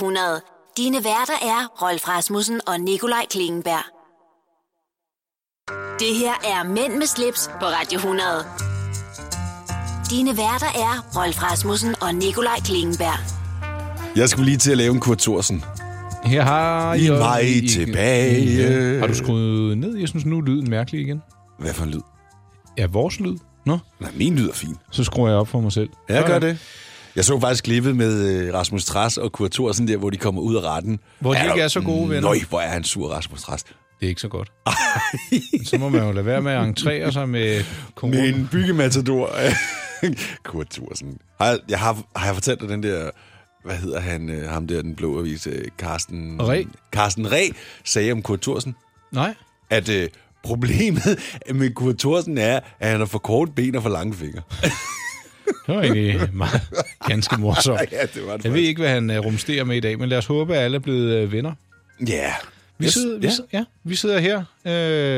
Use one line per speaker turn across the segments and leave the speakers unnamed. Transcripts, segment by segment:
100. Dine værter er Rolf Rasmussen og Nikolaj Klingenberg. Det her er Mænd med slips på Radio 100. Dine værter er Rolf Rasmussen og Nikolaj Klingenberg.
Jeg skulle lige til at lave en Kurt Thorsen.
Her har
I mig tilbage.
Har du skruet ned? Jeg synes, nu er lyden mærkelig igen.
Hvad for en lyd?
Ja, vores lyd. Nå,
Nej, min lyd er fin.
så skruer jeg op for mig selv.
Jeg gør
Sådan.
det. Jeg så faktisk klippet med øh, Rasmus Tras og Kurt Thorsen der, hvor de kommer ud af retten.
Hvor de
Er
ikke
du-
er så gode venner.
Nøj, hvor er han sur, Rasmus Tras.
Det er ikke så godt. Men så må man jo lade være med at entrere sig med corona. Men...
Men byggematador. Kurt Thorsen. Har jeg, jeg har, har jeg fortalt dig den der... Hvad hedder han? øh, Ham der, den blå avis. øh, Carsten...
Ree.
Carsten Reh sagde om Kurt Thorsen,
Nej,
at øh, problemet med Kurt Thorsen er, at han har for korte ben og for lange fingre.
det var egentlig meget, ganske morsomt.
ja, det var det
Jeg ved ikke, hvad han øh, rumsterer med i dag, men lad os håbe, at alle er blevet øh, venner.
Ja.
Vi,
Jeg-
sidder, vi,
ja.
sidder, ja, vi sidder her.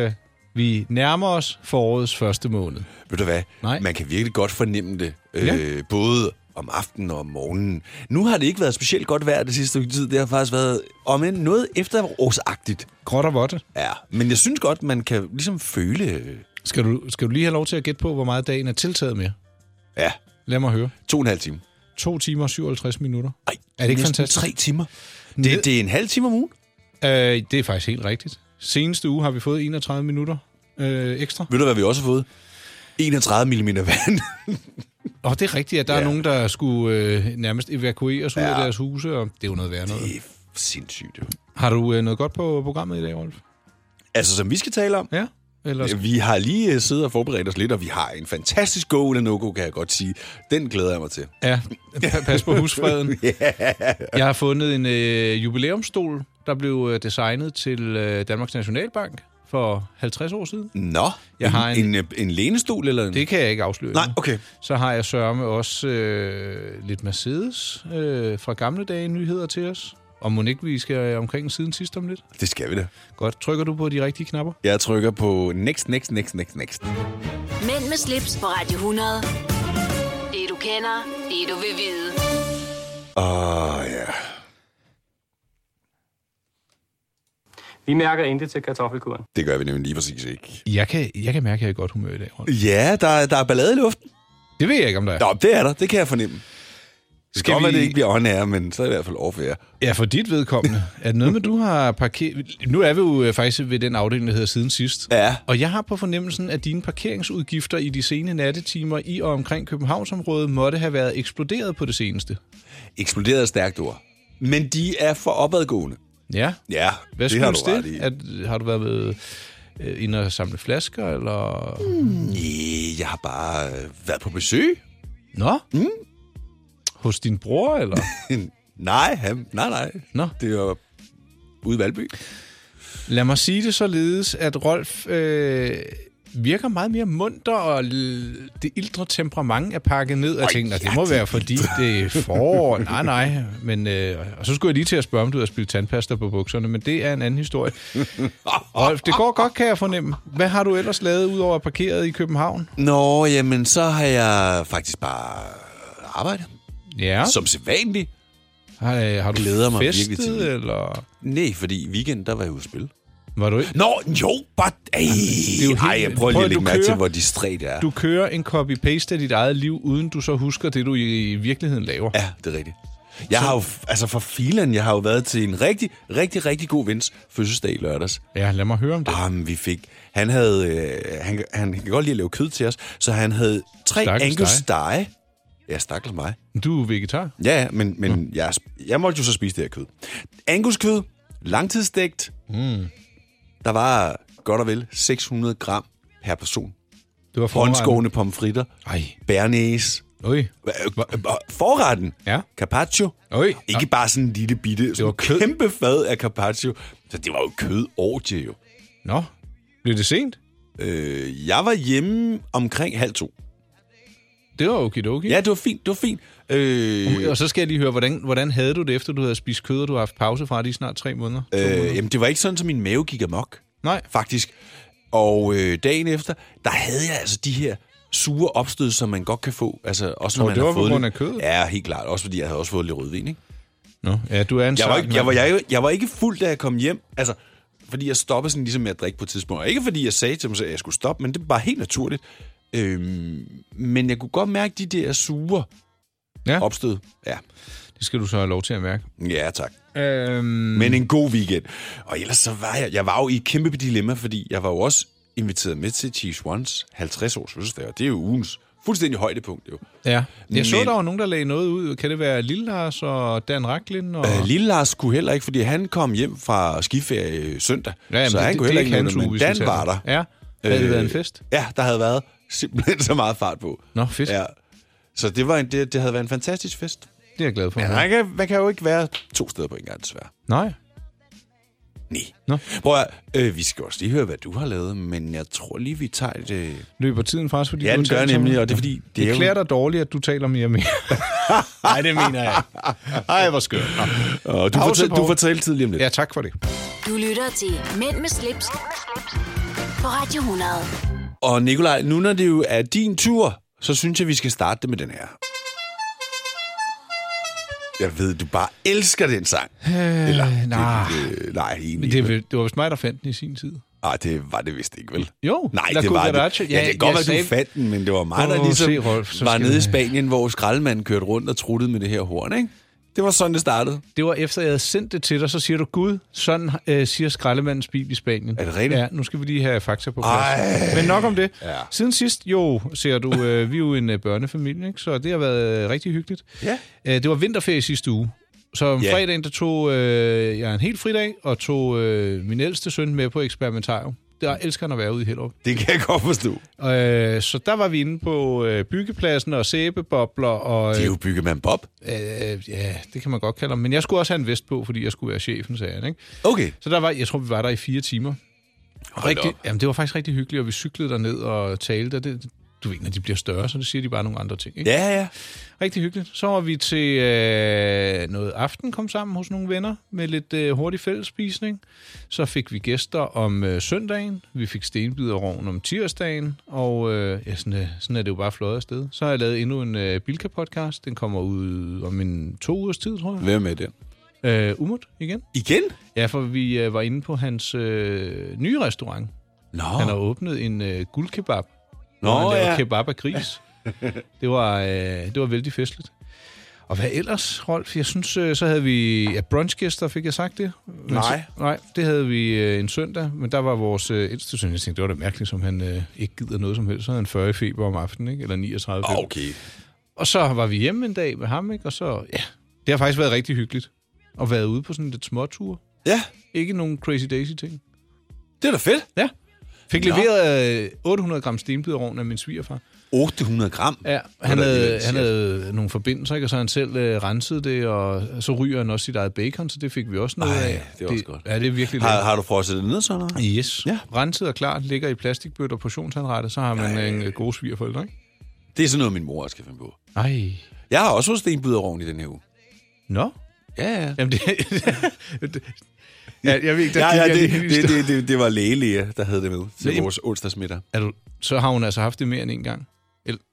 Øh, vi nærmer os forårets første måned.
Ved du hvad?
Nej.
Man kan virkelig godt fornemme det. Øh,
Ja.
Både om aftenen og om morgenen. Nu har det ikke været specielt godt vejr det sidste stykke tid. Det har faktisk været om end noget efterårsagtigt.
Gråt og vådt.
Ja. Men jeg synes godt, man kan ligesom føle... øh,
Skal du, skal du lige have lov til at gætte på, hvor meget dagen er tiltaget med?
Ja,
Lad mig høre.
to og en halv time.
2 timer og 57 minutter.
Ej,
Er det ikke
næsten
fantastisk?
tre timer.
Ned-
Det, det er en halv time om ugen.
Øh, det er faktisk helt rigtigt. Seneste uge har vi fået 31 minutter øh, ekstra.
Ved du, hvad vi også har fået? 31 mm vand.
Og det er rigtigt, at der ja.
Ja.
er nogen, der skulle øh, nærmest evakueres ud ja. af deres huse, og det er jo noget værd noget.
det er sindssygt. jo.
Har du øh, noget godt på programmet i dag, Rolf?
Altså, som vi skal tale om,
Ja? Eller skal...
Vi har lige øh, siddet og forberedt os lidt, og vi har en fantastisk go eller no-go, kan jeg godt sige. Den glæder jeg mig til.
Ja, pa- pas på husfreden. Jeg har fundet en øh, jubilæumstol, der blev øh, designet til øh, Danmarks Nationalbank for 50 år siden.
Nå,
Jeg har en-
en, øh, en lænestol eller en...
Det kan jeg ikke afsløre.
Nej,
endnu.
okay.
Så har jeg sørme også øh, lidt Mercedes øh, fra gamle dage nyheder til os. Og må ikke vi skal omkring siden sidst om lidt?
Det skal vi da.
Godt. Trykker du på de rigtige knapper?
Jeg trykker på next, next, next, next, next.
Mænd med slips på Radio 100. Det du kender, det du vil vide.
Åh, oh, ja.
Vi mærker intet til kartoffelkuren.
Det gør vi nemlig lige præcis ikke.
Jeg kan, jeg kan mærke, at jeg er i godt humør i dag. Rolf.
Ja, der, er- der er ballade i luften.
Det ved jeg ikke, om der er.
Nå, det er der. Det kan jeg fornemme. Det
Skal
kan godt være,
vi-
det ikke bliver on air, men så er det i hvert fald off air.
Ja, for dit vedkommende. Er det noget med, du har parkeret... Nu er vi jo øh, faktisk ved den afdeling, der hedder siden sidst.
Ja.
Og jeg har på fornemmelsen, at dine parkeringsudgifter i de sene nattetimer i og omkring Københavnsområdet måtte have været eksploderet på det seneste.
Eksploderet er et stærkt ord. Men de er for opadgående.
Ja.
Ja,
Hvad
det har du
skyldes
ret i.
det? At, har du været ved øh, inde og samle flasker, eller...
Nej, jeg har bare øh, været på besøg.
Nå? Mm. Hos din bror, eller?
nej, han, nej, nej.
Nå.
Det var ude i Valby.
Lad mig sige det således, at Rolf øh, virker meget mere munter, og l- det ildre temperament er pakket ned, og jeg tænker, "Nå, det må være, fordi det er forår. Nej, nej. Men, øh, og så skulle jeg lige til at spørge, om du havde spillet tandpasta på bukserne, men det er en anden historie. Rolf, det går godt, kan jeg fornemme. Hvad har du ellers lavet, udover at parkeret i København?
Nå, jamen, så har jeg faktisk bare arbejdet.
Ja,
Som sædvanligt.
har, øh, har du
glæder mig
festet,
virkelig til det.
eller
Nej, fordi i weekenden, der var jeg ude at spille.
var du ikke?
Nå, jo, bare... Ej, det
er
er
jo
jo ej,
helt-
jeg prøver lige at
prøv, du
lægge mærke til,
kører.
hvor distræt jeg er.
Du kører en copy-paste af dit eget liv, uden du så husker det, du i, i virkeligheden laver.
Ja, det er rigtigt. Jeg har jo, f- altså for filen, jeg har jo været til en rigtig, rigtig, rigtig god vens fødselsdag i lørdags.
Ja, lad mig høre om det.
Jamen, vi fik... Han havde... Øh, han, han kan godt lide at lave kød til os, så han havde tre
Stakkels
Angus
dig.
stege. Ja, stakkels mig.
Du er vegetar.
Ja, ja, men, men mm. jeg, jeg måtte jo så spise det her kød. Angus kød, langtidsstegt. Mm. Der var godt og vel 600 gram per person.
Det var forretten.
Håndskående pomfritter,
Ej,
bernæs,
øj,
øh, forretten,
Ja.
carpaccio.
øj.
Ikke bare sådan en lille bitte, sådan
var
det
kød.
var kæmpe fad af carpaccio. Så det var jo kød jo.
Nå, blev det sent?
Øh, jeg var hjemme omkring halv to.
Det var okay, okay.
Ja, det var fint, det var fint. Øh,
Og så skal jeg lige høre, hvordan, hvordan havde du det, efter du havde spist kød, og du har haft pause fra det i snart tre måneder?
øh, jamen, det var ikke sådan, at min mave gik amok.
Nej.
faktisk. Og øh, dagen efter, der havde jeg altså de her sure opstød, som man godt kan få. Altså, også når
Og
man
det
har
var på
fået
grund
lidt-
af kødet?
Ja, helt klart. Også fordi jeg havde også fået lidt rødvin, ikke?
Nå, ja, du er en
Jeg var,
sart
ikke, jeg, var,
mand.
jeg, jeg var ikke fuld, da jeg kom hjem. Altså, fordi jeg stoppede sådan ligesom med at drikke på et tidspunkt. Og ikke fordi jeg sagde til mig selv, at jeg skulle stoppe, men det var helt naturligt. Øhm, men jeg kunne godt mærke de der sure
Ja.
ja. opstød. Ja.
Det skal du så have lov til at mærke.
ja, tak.
Øhm,
Men en god weekend. Og ellers så var jeg, jeg var jo i et kæmpe dilemma, fordi jeg var jo også inviteret med til Cheese Ones 50 års fødselsdag, og det er jo ugens fuldstændig højdepunkt. Jo.
ja. Jeg så,
Men-
der var nogen, der lagde noget ud. Kan det være Lille Lars og Dan Raklin? Og...
Øh, Lille Lars kunne heller ikke, fordi han kom hjem fra skiferie øh, søndag,
jamen,
så han kunne
er
heller ikke med,
hans
det,
uge,
men
hvis vi
Dan
tager
var der.
den. Ja. Havde det
Øh,
været en fest?
Ja, der havde været simpelthen så meget fart på.
Nå, fedt.
Ja. Så det, var en, det, det havde været en fantastisk fest.
Det er jeg glad for.
Men man kan, man kan jo ikke være to steder på en gang, desværre.
Nej.
Nej.
Nå.
Prøv at, høre, øh, vi skal også lige høre, hvad du har lavet, men jeg tror lige, vi tager et... Øh...
Løber tiden fra os, fordi
Ja,
du
den gør
taler så
nemlig,
meget?
og det er fordi, det
Det,
er jo-
det klæder dig dårligt, at du taler mere og mere. Nej, det mener jeg ikke. Ej, hvor skørt. Nå.
Og du,
Pause,
fortæl, du
Poul.
fortæller tidligere om lidt.
Ja, tak for det.
Du lytter til Mænd med slips, på Radio 100.
Og Nikolaj, nu når det jo er din tur, så synes jeg, vi skal starte det med den her. Jeg ved, du bare elsker den sang. Øh, Eller,
nej.
Det, det, nej, egentlig.
Men det, er
Det,
vel- det var vist mig, der fandt den i sin tid.
Ej, det var det vist ikke, vel?
Jo,
Nej,
La
det var det.
Cucaracha.
Ja, det kan godt
jeg
være,
sagde-
du fandt den, men det var mig, der
Åh,
ligesom
se, Rolf, så
var
skal
nede i
vi-
Spanien, hvor skraldemanden kørte rundt og truttede med det her horn, ikke? Det var sådan, det startede.
Det var efter, jeg havde sendt det til dig, så siger du, Gud, sådan øh, siger skraldemandens bil i Spanien.
Er det rigtigt?
Ja, nu skal vi lige have fakta på plads.
Ej.
Men nok om det.
Ja.
Siden sidst, jo, ser du, øh, vi er jo en øh, børnefamilie, ikke? så det har været øh, rigtig hyggeligt.
Ja.
Øh, det var vinterferie sidste uge. Så om
Ja.
yeah. fredagen, der tog øh, jeg en helt fridag, og tog øh, min ældste søn med på eksperimentarium. Der elsker han at være ude i Hellerup.
Det kan jeg godt forstå.
Øh, så der var vi inde på øh, byggepladsen og sæbebobler. Og,
Det er jo byggemand Bob.
øh, ja, det kan man godt kalde ham. Men jeg skulle også have en vest på, fordi jeg skulle være chefen, sagde han. Ikke?
Okay.
Så der var, jeg tror, vi var der i fire timer.
Hold
rigtig,
op.
jamen, det var faktisk rigtig hyggeligt, og vi cyklede derned og talte. Og det, du ved, når de bliver større, så siger de bare nogle andre ting. Ikke?
Ja, ja.
Rigtig hyggeligt. Så var vi til øh, noget aften, kom sammen hos nogle venner med lidt øh, hurtig fællesspisning. Så fik vi gæster om øh, søndagen, vi fik stenbiderovn om tirsdagen, og øh, ja, sådan, øh, sådan er det jo bare fløjet afsted. Så har jeg lavet endnu en øh, Bilka-podcast, den kommer ud om en to ugers tid, tror jeg.
Hvem er den?
Øh, Umut igen.
Igen?
Ja, for vi øh, var inde på hans øh, nye restaurant.
Nå,
Han har åbnet en øh, guldkebab.
Nå,
Nå, han laver
ja.
kebab af gris. det, var, øh, det var vældig festligt. Og hvad ellers, Rolf? Jeg synes, øh, så havde vi ja, brunchgæster, fik jeg sagt det? Men
Nej.
Så, nej, det havde vi øh, en søndag, men der var vores øh, ældste søn. Jeg tænkte, det var da mærkeligt, som han øh, ikke gider noget som helst. Så havde han 40 i feber om aftenen, ikke? eller 39 feber.
okay.
Og så var vi hjemme en dag med ham, ikke? og så, ja, det har faktisk været rigtig hyggeligt. Og været ude på sådan lidt småtur.
Ja,
Ikke nogen crazy daisy ting.
det er da fedt.
Ja. Fik
Nå.
leveret øh, 800 gram stenbiderovn af min svigerfar.
800 gram.
Ja,
er
han
da
havde,
alligevel
han
sjovt.
havde nogle forbindelser, ikke? og så han selv øh, rensede det, og så ryger han også sit eget bacon, så det fik vi også noget
Ej,
af.
det er også godt.
Ja, det er virkelig
Har,
lækkert.
har du frosset det ned sådan noget?
Yes.
Ja.
Ja. Renset og klart, ligger i plastikbøtter, portionsanrettet, så har man
Ej.
Ej. en øh, god svigerforældre, ikke?
Det er sådan noget, min mor også kan finde på.
Ej.
Jeg har også fået stenbiderovn i den her uge.
Nå.
Ja, ja.
Jamen det... det ja, jeg ved ikke, der
Ja, ja,
gik jeg
det,
lige-
det, det, det, det var lægelæge, der havde det med til
Men-
vores onsdagsmiddag.
Er du, så har hun altså haft det mere end en gang.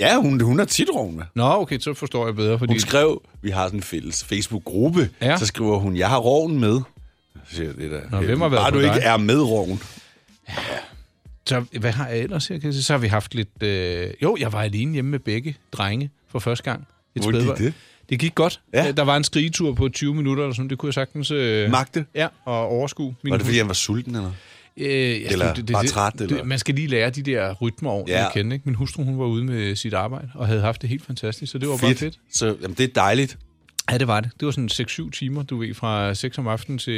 Ja, hun, hun har tit rovn med.
Nå, okay, så forstår jeg bedre, fordi...
Hun skrev, vi har sådan en fælles Facebook-gruppe, ja.
Ja.
så skriver hun, jeg har roven med. Så siger jeg, det der.
Nå, hvem har været
Bare
på
du
dig?
ikke er med roven.
Så hvad har jeg ellers her? Kan jeg sige? Så har vi haft lidt... Øh... Jo, jeg var alene hjemme med begge drenge for første gang. Et
Hvordan gik
spædbarn.
det?
Det gik godt.
Ja.
Ja. Der var en skrigetur på 20 minutter, eller sådan. det kunne jeg sagtens... Øh...
Magte.
Ja, og overskue. Min
Var det, fordi han var sulten eller
Øh, jeg
Eller
tror,
var træt, eller?
Det, man skal lige lære de der rytmer ordentligt
Ja.
ja. at kende. Ikke? Min hustru hun var ude med sit arbejde, og havde haft det helt fantastisk, så det var bare fedt.
Så, jamen, det er dejligt.
Ja, det var det. Det var sådan 6-7 timer, du ved, fra 6 om aftenen til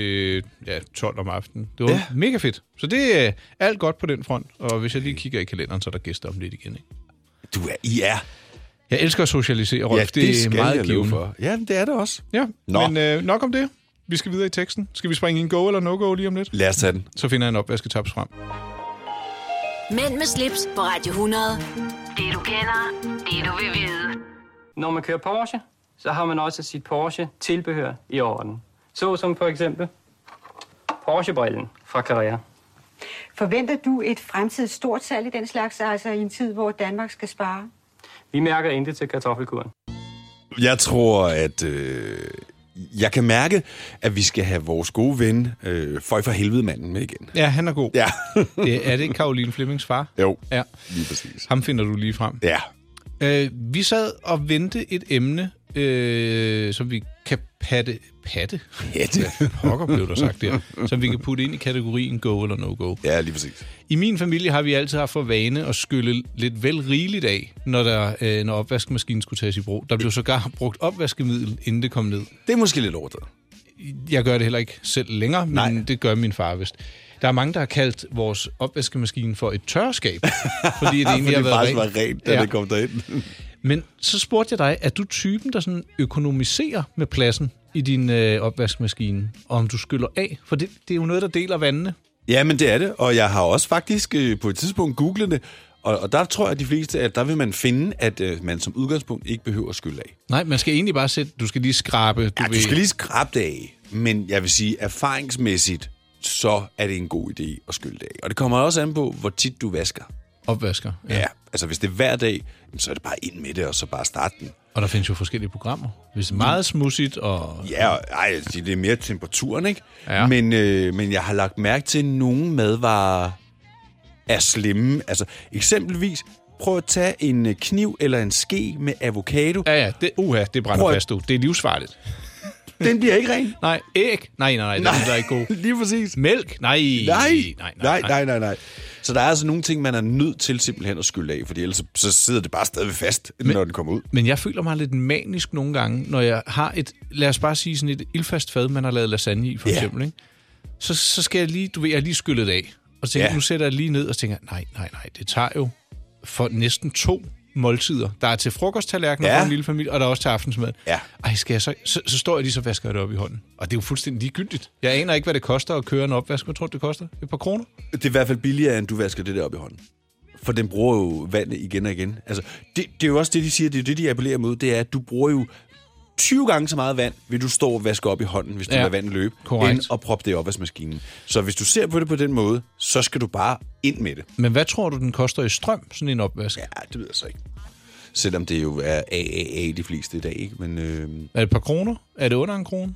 ja, 12 om aftenen. Det var
Ja.
ja. mega fedt. Så det er alt godt på den front. Og hvis jeg lige kigger i kalenderen, så er der gæster om lidt igen. Ikke?
Du er, I er.
Jeg elsker at socialisere, Rolf. det er meget givende.
for. Ja, det er det også.
Ja,
Nå.
Nå. men øh, nok om det. Vi skal videre i teksten. Skal vi springe en go eller no-go lige om lidt?
Lad os tage den.
Så finder jeg en opvasketaps frem.
Mænd med slips på Radio 100. Det du kender, det du vil vide.
Når man kører Porsche, så har man også sit Porsche-tilbehør i orden. Så som for eksempel Porsche-brillen fra Carrera.
Forventer du et fremtidigt stort salg i den slags, altså i en tid, hvor Danmark skal spare?
Vi mærker intet til kartoffelkuren.
Jeg tror, at øh, jeg kan mærke, at vi skal have vores gode ven, øh, Føj for helvede manden, med igen.
Ja, han er god.
Ja,
Det, er det ikke Karoline Flemmings far?
jo,
Ja.
lige præcis.
Ham finder du lige frem.
Ja,
Øh, vi sad og vendte et emne, øh, som vi kan patte... Patte?
Patte.
Pokker blev der sagt der. Som vi kan putte ind i kategorien go eller no-go.
ja lige præcis.
I min familie har vi altid haft for vane at skylle lidt vel rigeligt af, når, der, øh, når opvaskemaskinen skulle tages i brug. Der blev sågar brugt opvaskemiddel, inden det kom ned.
Det er måske lidt overdrevet.
Jeg gør det heller ikke selv længere, men Nej. det gør min far vist. Der er mange, der har kaldt vores opvaskemaskine for et tørskab, fordi det egentlig har
det
været
faktisk
rent.
var rent, da ja. det kom derind.
Men så spurgte jeg dig, er du typen, der sådan økonomiserer med pladsen i din øh, opvaskemaskine, og om du skyller af? For det, det er jo noget, der deler vandene.
Ja, men det er det, og jeg har også faktisk øh, på et tidspunkt googlet det, og, og der tror jeg, at de fleste, at der vil man finde, at øh, man som udgangspunkt ikke behøver at skylde af.
Nej, man skal egentlig bare sætte, du skal lige skrabe. Du,
Ja, du skal lige skrabe det af, men jeg vil sige, erfaringsmæssigt, så er det en god idé at skylde det af. Og det kommer også an på, hvor tit du vasker.
opvasker.
Ja. ja. Altså, hvis det er hver dag, jamen, så er det bare ind med det, og så bare starte den.
Og der findes jo forskellige programmer. Hvis det er meget smudsigt og...
Ja, og- ej, jeg vil sige, det er mere temperaturen, ikke?
Ja.
Men, øh, men jeg har lagt mærke til, at nogle madvarer er slemme. Altså, eksempelvis, prøv at tage en øh, kniv eller en ske med avocado.
Ja, ja, det, uha, det brænder
Prøv at-
fast, du. Det er livsfarligt.
Den bliver ikke ren.
Nej, æg? Nej, nej, nej, nej. det er ikke god.
Lige præcis.
Mælk? Nej.
Nej.
nej, nej.
nej, nej, nej, nej. Så der er altså nogle ting, man er nødt til simpelthen at skylde af, fordi ellers så- så sidder det bare stadigvæk fast, men, når den kommer ud.
Men jeg føler mig lidt manisk nogle gange, når jeg har et, lad os bare sige sådan et ildfast fad, man har lavet lasagne i, for
Ja.
eksempel. Ikke? Så, så skal jeg lige, du ved, jeg har lige skyllet det af. Og tænker,
Ja.
nu sætter jeg lige ned og tænker, nej, nej, nej, det tager jo for næsten to måltider. Der er til frokosttallerkener
Ja.
ja. for en lille familie, og der er også til aftensmad.
Ja.
Ej, skal jeg så, så, så står jeg lige så vasker jeg det op i hånden. Og det er jo fuldstændig ligegyldigt. Jeg aner ikke, hvad det koster at køre en opvask. Hvad tror du, det koster? Et par kroner?
Det er i hvert fald billigere, end du vasker det der op i hånden. For den bruger jo vandet igen og igen. Altså, det, det er jo også det, de siger, det er det, de appellerer mod, det er, at du bruger jo 20 gange så meget vand, vil du stå og vaske op i hånden, hvis du ja.
Ja.
lader vandet løbe,
Korrekt.
end at proppe det i opvaskemaskinen. Så hvis du ser på det på den måde, så skal du bare ind med det.
Men hvad tror du, den koster i strøm, sådan en opvask? Ja.
Ja, det ved jeg så ikke. Selvom det jo er AAA de fleste i dag, ikke? Men øh,
Er det et par kroner? Er det under en krone?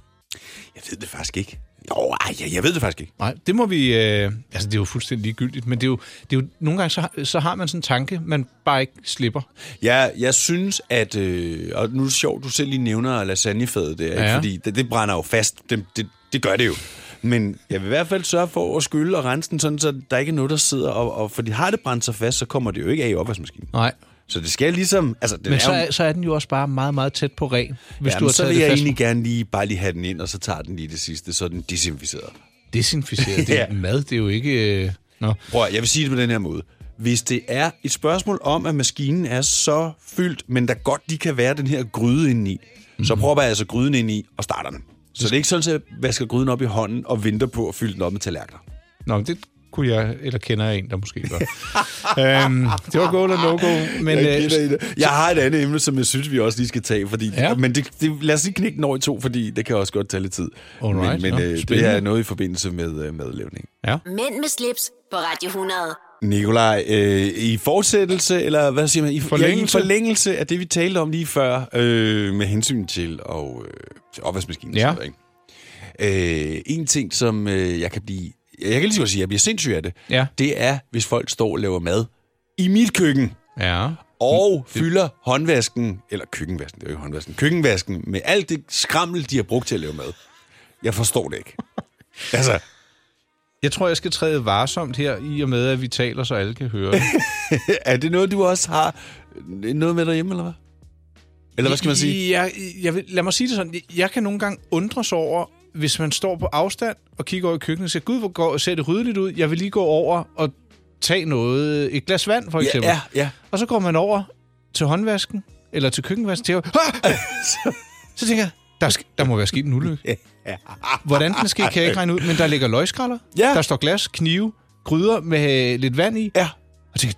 jeg ved det faktisk ikke. Jo, ej, jeg, jeg ved det faktisk ikke.
Nej, det må vi... Øh, altså, det er jo fuldstændig ligegyldigt, men det er jo... Det er jo nogle gange, så, har- så har man sådan en tanke, man bare ikke slipper.
Jeg, jeg synes, at... Øh, og nu er det sjovt, du selv lige nævner lasagnefadet der, ikke?
Ja.
fordi det, det brænder jo fast. Det, det, det gør det jo. Men jeg vil i hvert fald sørge for at skylle og rense den, sådan, så der ikke er noget, der sidder. Og, og fordi har det brændt sig fast, så kommer det jo ikke af i opvaskemaskinen.
Nej.
Så det skal ligesom... Altså, den
Men
er
så
jo-
er, så er den jo også bare meget, meget tæt på ren, hvis
Jamen,
du har
så
taget
vil
det
jeg
fast.
egentlig gerne lige bare lige have den ind, og så tager den lige det sidste, så er den desinficeret.
Desinficeret. Det er
Ja.
mad, det er jo ikke... Øh, nå.
Prøv at, jeg vil sige det på den her måde. Hvis det er et spørgsmål om, at maskinen er så fyldt, men der godt lige kan være den her gryde indeni, mm.
Mhm.
så propper jeg altså gryden ind i og starter den. Så det er ikke sådan, at jeg vasker gryden op i hånden og venter på at fylde den op med tallerkener.
Nå, men det kunne jeg, eller kender jeg en, der måske gør. øhm, det var go eller no-go, men øh,
Jeg har et andet emne, som jeg synes, vi også lige skal tage, fordi, ja.
Ja.
men det, det, lad os lige knække den over i to, fordi det kan også godt tage lidt tid.
Alright,
men
nå,
men øh, det her
spændende.
er noget i forbindelse med øh, madlavning.
Mænd med slips på Radio 100.
Nikolaj, øh, i fortsættelse, eller hvad siger man? I
Forlængelse.
Ja, i forlængelse af det, vi talte om lige før, øh, med hensyn til, og, øh, til opvaskemaskinen. og
Ja.
sådan noget, ikke? Øh, en ting, som øh, jeg kan blive... Jeg kan lige så godt sige, at jeg bliver sindssyg af det.
Ja.
Det er, hvis folk står og laver mad i mit køkken,
ja.
og
Mm.
det. fylder håndvasken, eller køkkenvasken, det er jo ikke håndvasken, køkkenvasken, med alt det skrammel, de har brugt til at lave mad. Jeg forstår det ikke. altså,
Jeg tror, jeg skal træde varsomt her, i og med, at vi taler, så alle kan høre det.
Er det noget, du også har øh, noget med derhjemme, eller hvad? Eller hvad skal man sige?
Jeg, jeg vil, lad mig sige det sådan. Jeg- Jeg kan nogle gange undres over, hvis man står på afstand og kigger over i køkkenet og siger, gud, hvor går, ser det ryddeligt ud. Jeg vil lige gå over og tage noget, et glas vand for eksempel.
Ja, ja.
Og så går man over til håndvasken, eller til køkkenvasken, til ah! Så tænker jeg, der, skal, der må være sket en ulykke. Hvordan den sker, kan jeg ikke regne ud. Men der ligger løgskralder,
Ja.
der står glas, knive, gryder med øh, lidt vand i.
Ja.
Og tænker,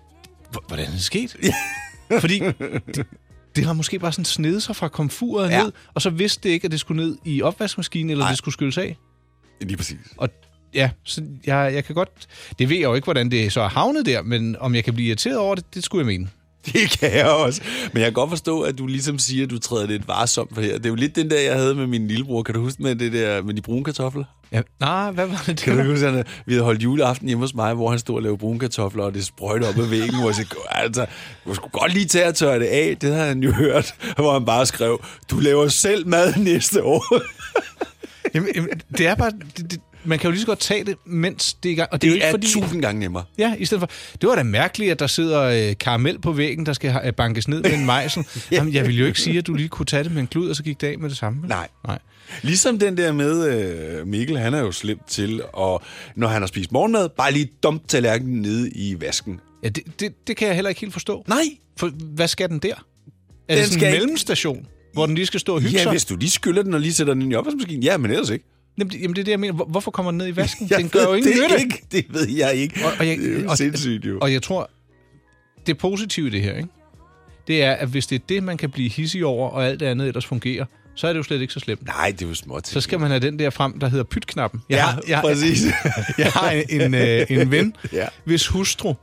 "Hvor- hvordan er det sket? Fordi det, det har måske bare sådan snedet sig fra komfuret
Ja.
ja. ned, og så vidste det ikke, at det skulle ned i opvaskemaskinen, eller
Nej.
Nej. det skulle skylles af.
Lige præcis.
Og ja, så jeg, jeg kan godt... Det ved jeg jo ikke, hvordan det så er havnet der, men om jeg kan blive irriteret over det, det skulle jeg mene.
Det kan jeg også. Men jeg kan godt forstå, at du ligesom siger, at du træder lidt varsomt for her. Det er jo lidt den der, jeg havde med min lillebror. Kan du huske med det der med de brune kartofler?
Ja, nej, hvad var det?
Kan du ikke huske, at vi havde holdt juleaften hjemme hos mig, hvor han stod og lavede brune kartofler, og det sprøjte op ad væggen, hvor jeg sagde, altså, du skulle godt lige tage at tørre det af. Det havde han jo hørt, hvor han bare skrev, du laver selv mad næste år.
Jamen, jamen, det er bare... Det, det, man kan jo lige så godt tage det, mens det er i gang. Og det, er jo
Det
ikke
er
fordi...
tusind gange nemmere.
Ja, i stedet for... Det var da mærkeligt, at der sidder øh, karamel på væggen, der skal øh, bankes ned med en mejsel. Jamen, jeg ville jo ikke sige, at du lige kunne tage det med en klud, og så gik det af med det samme. vel?
Nej.
Nej.
Ligesom den der med øh, Mikkel, han er jo slemt til, og når han har spist morgenmad, bare lige dump tallerkenen nede i vasken.
Ja, det, det, det kan jeg heller ikke helt forstå.
Nej,
For hvad skal den der? Er den
Den
det sådan
skal
en
ikke-
mellemstation, hvor den lige skal stå og hygge
ja,
sig?
hvis du lige skyller den og lige sætter den ind i opvaskemaskinen, ja, men ellers ikke.
Jamen, det, jamen, det er det, jeg mener. Hvor- Hvorfor kommer den ned i vasken?
Jeg
den gør
ved
jo ingen
det
nytte.
Ikke. Det ved jeg ikke.
Og, og, jeg,
det er jo
og,
sindssygt jo.
og jeg tror, det positive i det her, ikke? det er, at hvis det er det, man kan blive hissig over, og alt det andet ellers fungerer, så er det jo slet ikke så slemt.
Nej, det er jo småt.
Så skal man have den der frem, der hedder pytknappen. Jeg,
Ja,
har- jeg,
præcis.
jeg har en, en, øh, en ven,
Ja.
hvis hustru,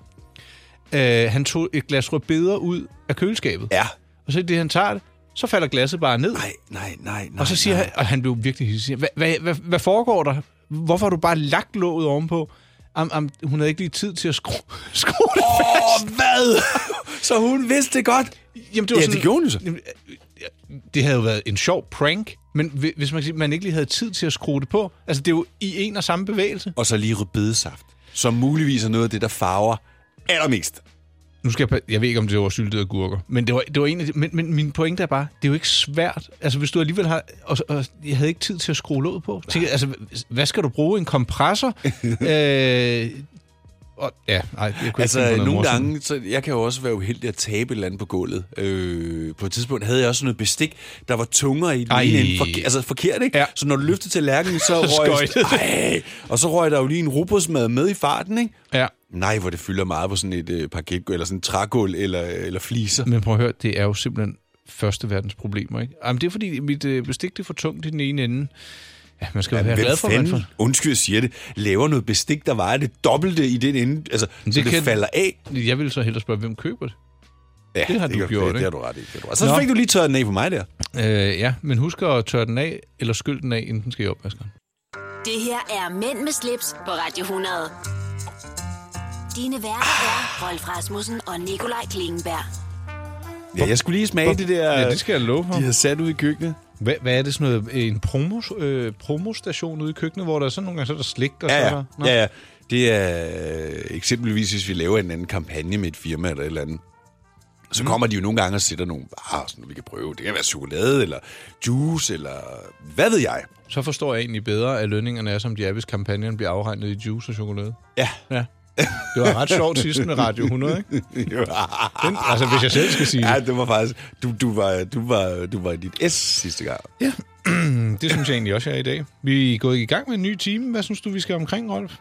øh, han tog et glas rødbeder ud af køleskabet.
Ja.
Og så i det, han tager det, så falder glasset bare ned.
Nej, nej, nej, nej.
Og så siger
nej.
han, og han blev virkelig hissig, hvad, hvad, hvad, hvad foregår der? Hvorfor har du bare lagt låget ovenpå? Am, am, hun havde ikke lige tid til at skrue, skrue det
Åh, hvad? så hun vidste det godt.
Jamen,
Ja, det gjorde hun jo så.
Jamen, øh, det havde jo været en sjov prank, men hvi- hvis man, kan sige, man ikke lige havde tid til at skrue det på, altså det er jo i en og samme bevægelse.
Og så lige rødbedesaft, som muligvis er noget af det, der farver allermest.
Nu skal jeg, pa- jeg ved ikke, om det var syltede agurker, men det var, det var en af de, men, men min pointe er bare, det er jo ikke svært. Altså hvis du alligevel har, og, og jeg havde ikke tid til at skrue låget på. Tænker, altså, hvad skal du bruge? En kompressor? øh, og, ja, nej, jeg kunne ikke finde på
Altså,
noget
nogle
morsomt.
gange, så jeg kan jo også være uheldig at tabe et eller andet på gulvet. Øh, på et tidspunkt havde jeg også sådan noget bestik, der var tungere i den
Ej.
ene ende. Forke- altså forkert, ikke?
Ja.
Så når du løftede til lærken, så røg
Skøjtede det.
Ej, Og så røg der jo lige en rugbrødsmad med i farten, ikke?
Ja,
Nej, hvor det fylder meget på sådan et øh, parket, eller sådan et trægulv, eller, eller fliser.
Men prøv at høre, det er jo simpelthen første verdens problemer, ikke? Jamen, det er fordi, mit øh, bestik det er for tungt i den ene ende. Ja, man skal jo være
Hvem
glad for, at man får...
fanden, undskyld, jeg siger det, laver noget bestik, der vejer det dobbelte i den ende, altså, det så det
kan-
falder af.
Jeg vil så hellere spørge, hvem køber det?
Ja,
det har du
kan-
gjort,
det, det
ikke?
har du ret i. Det har du ret. Så
Nå.
fik du lige tørret den af på mig der.
Øh, ja, men husk at tørre den af, eller skyld den af, inden den skal i opvaskeren.
Det her er Mænd med slips på Radio 100. Dine værter er Rolf Rasmussen og Nikolaj Klingenberg.
Ja, jeg skulle lige smage det der,
Ja, det skal jeg love for.
de har sat ud i køkkenet.
Hvad, hvad er det sådan noget, en promos, øh, promostation ude i køkkenet, hvor der er sådan nogle gange så er der slik og så er
Ja,
der...
ja. ja, ja. Det er øh, eksempelvis, hvis vi laver en anden kampagne med et firma eller et eller andet. Så kommer de jo nogle gange og sætter nogle varer, sådan, vi kan prøve. Det kan være chokolade, eller juice, eller hvad ved jeg.
Så forstår jeg egentlig bedre, at lønningerne er, som de er, hvis kampagnen bliver afregnet i juice og chokolade.
Ja.
Ja. Det var ret sjovt sidst med Radio 100, ikke? Den, altså, hvis jeg selv skal sige
ja,
det.
det var faktisk... Du, du, var, du, var, du var i dit S sidste gang.
Mm, Det synes jeg egentlig også, jeg er i dag. Vi er gået i gang med en ny time. Hvad synes du, vi skal omkring, Rolf?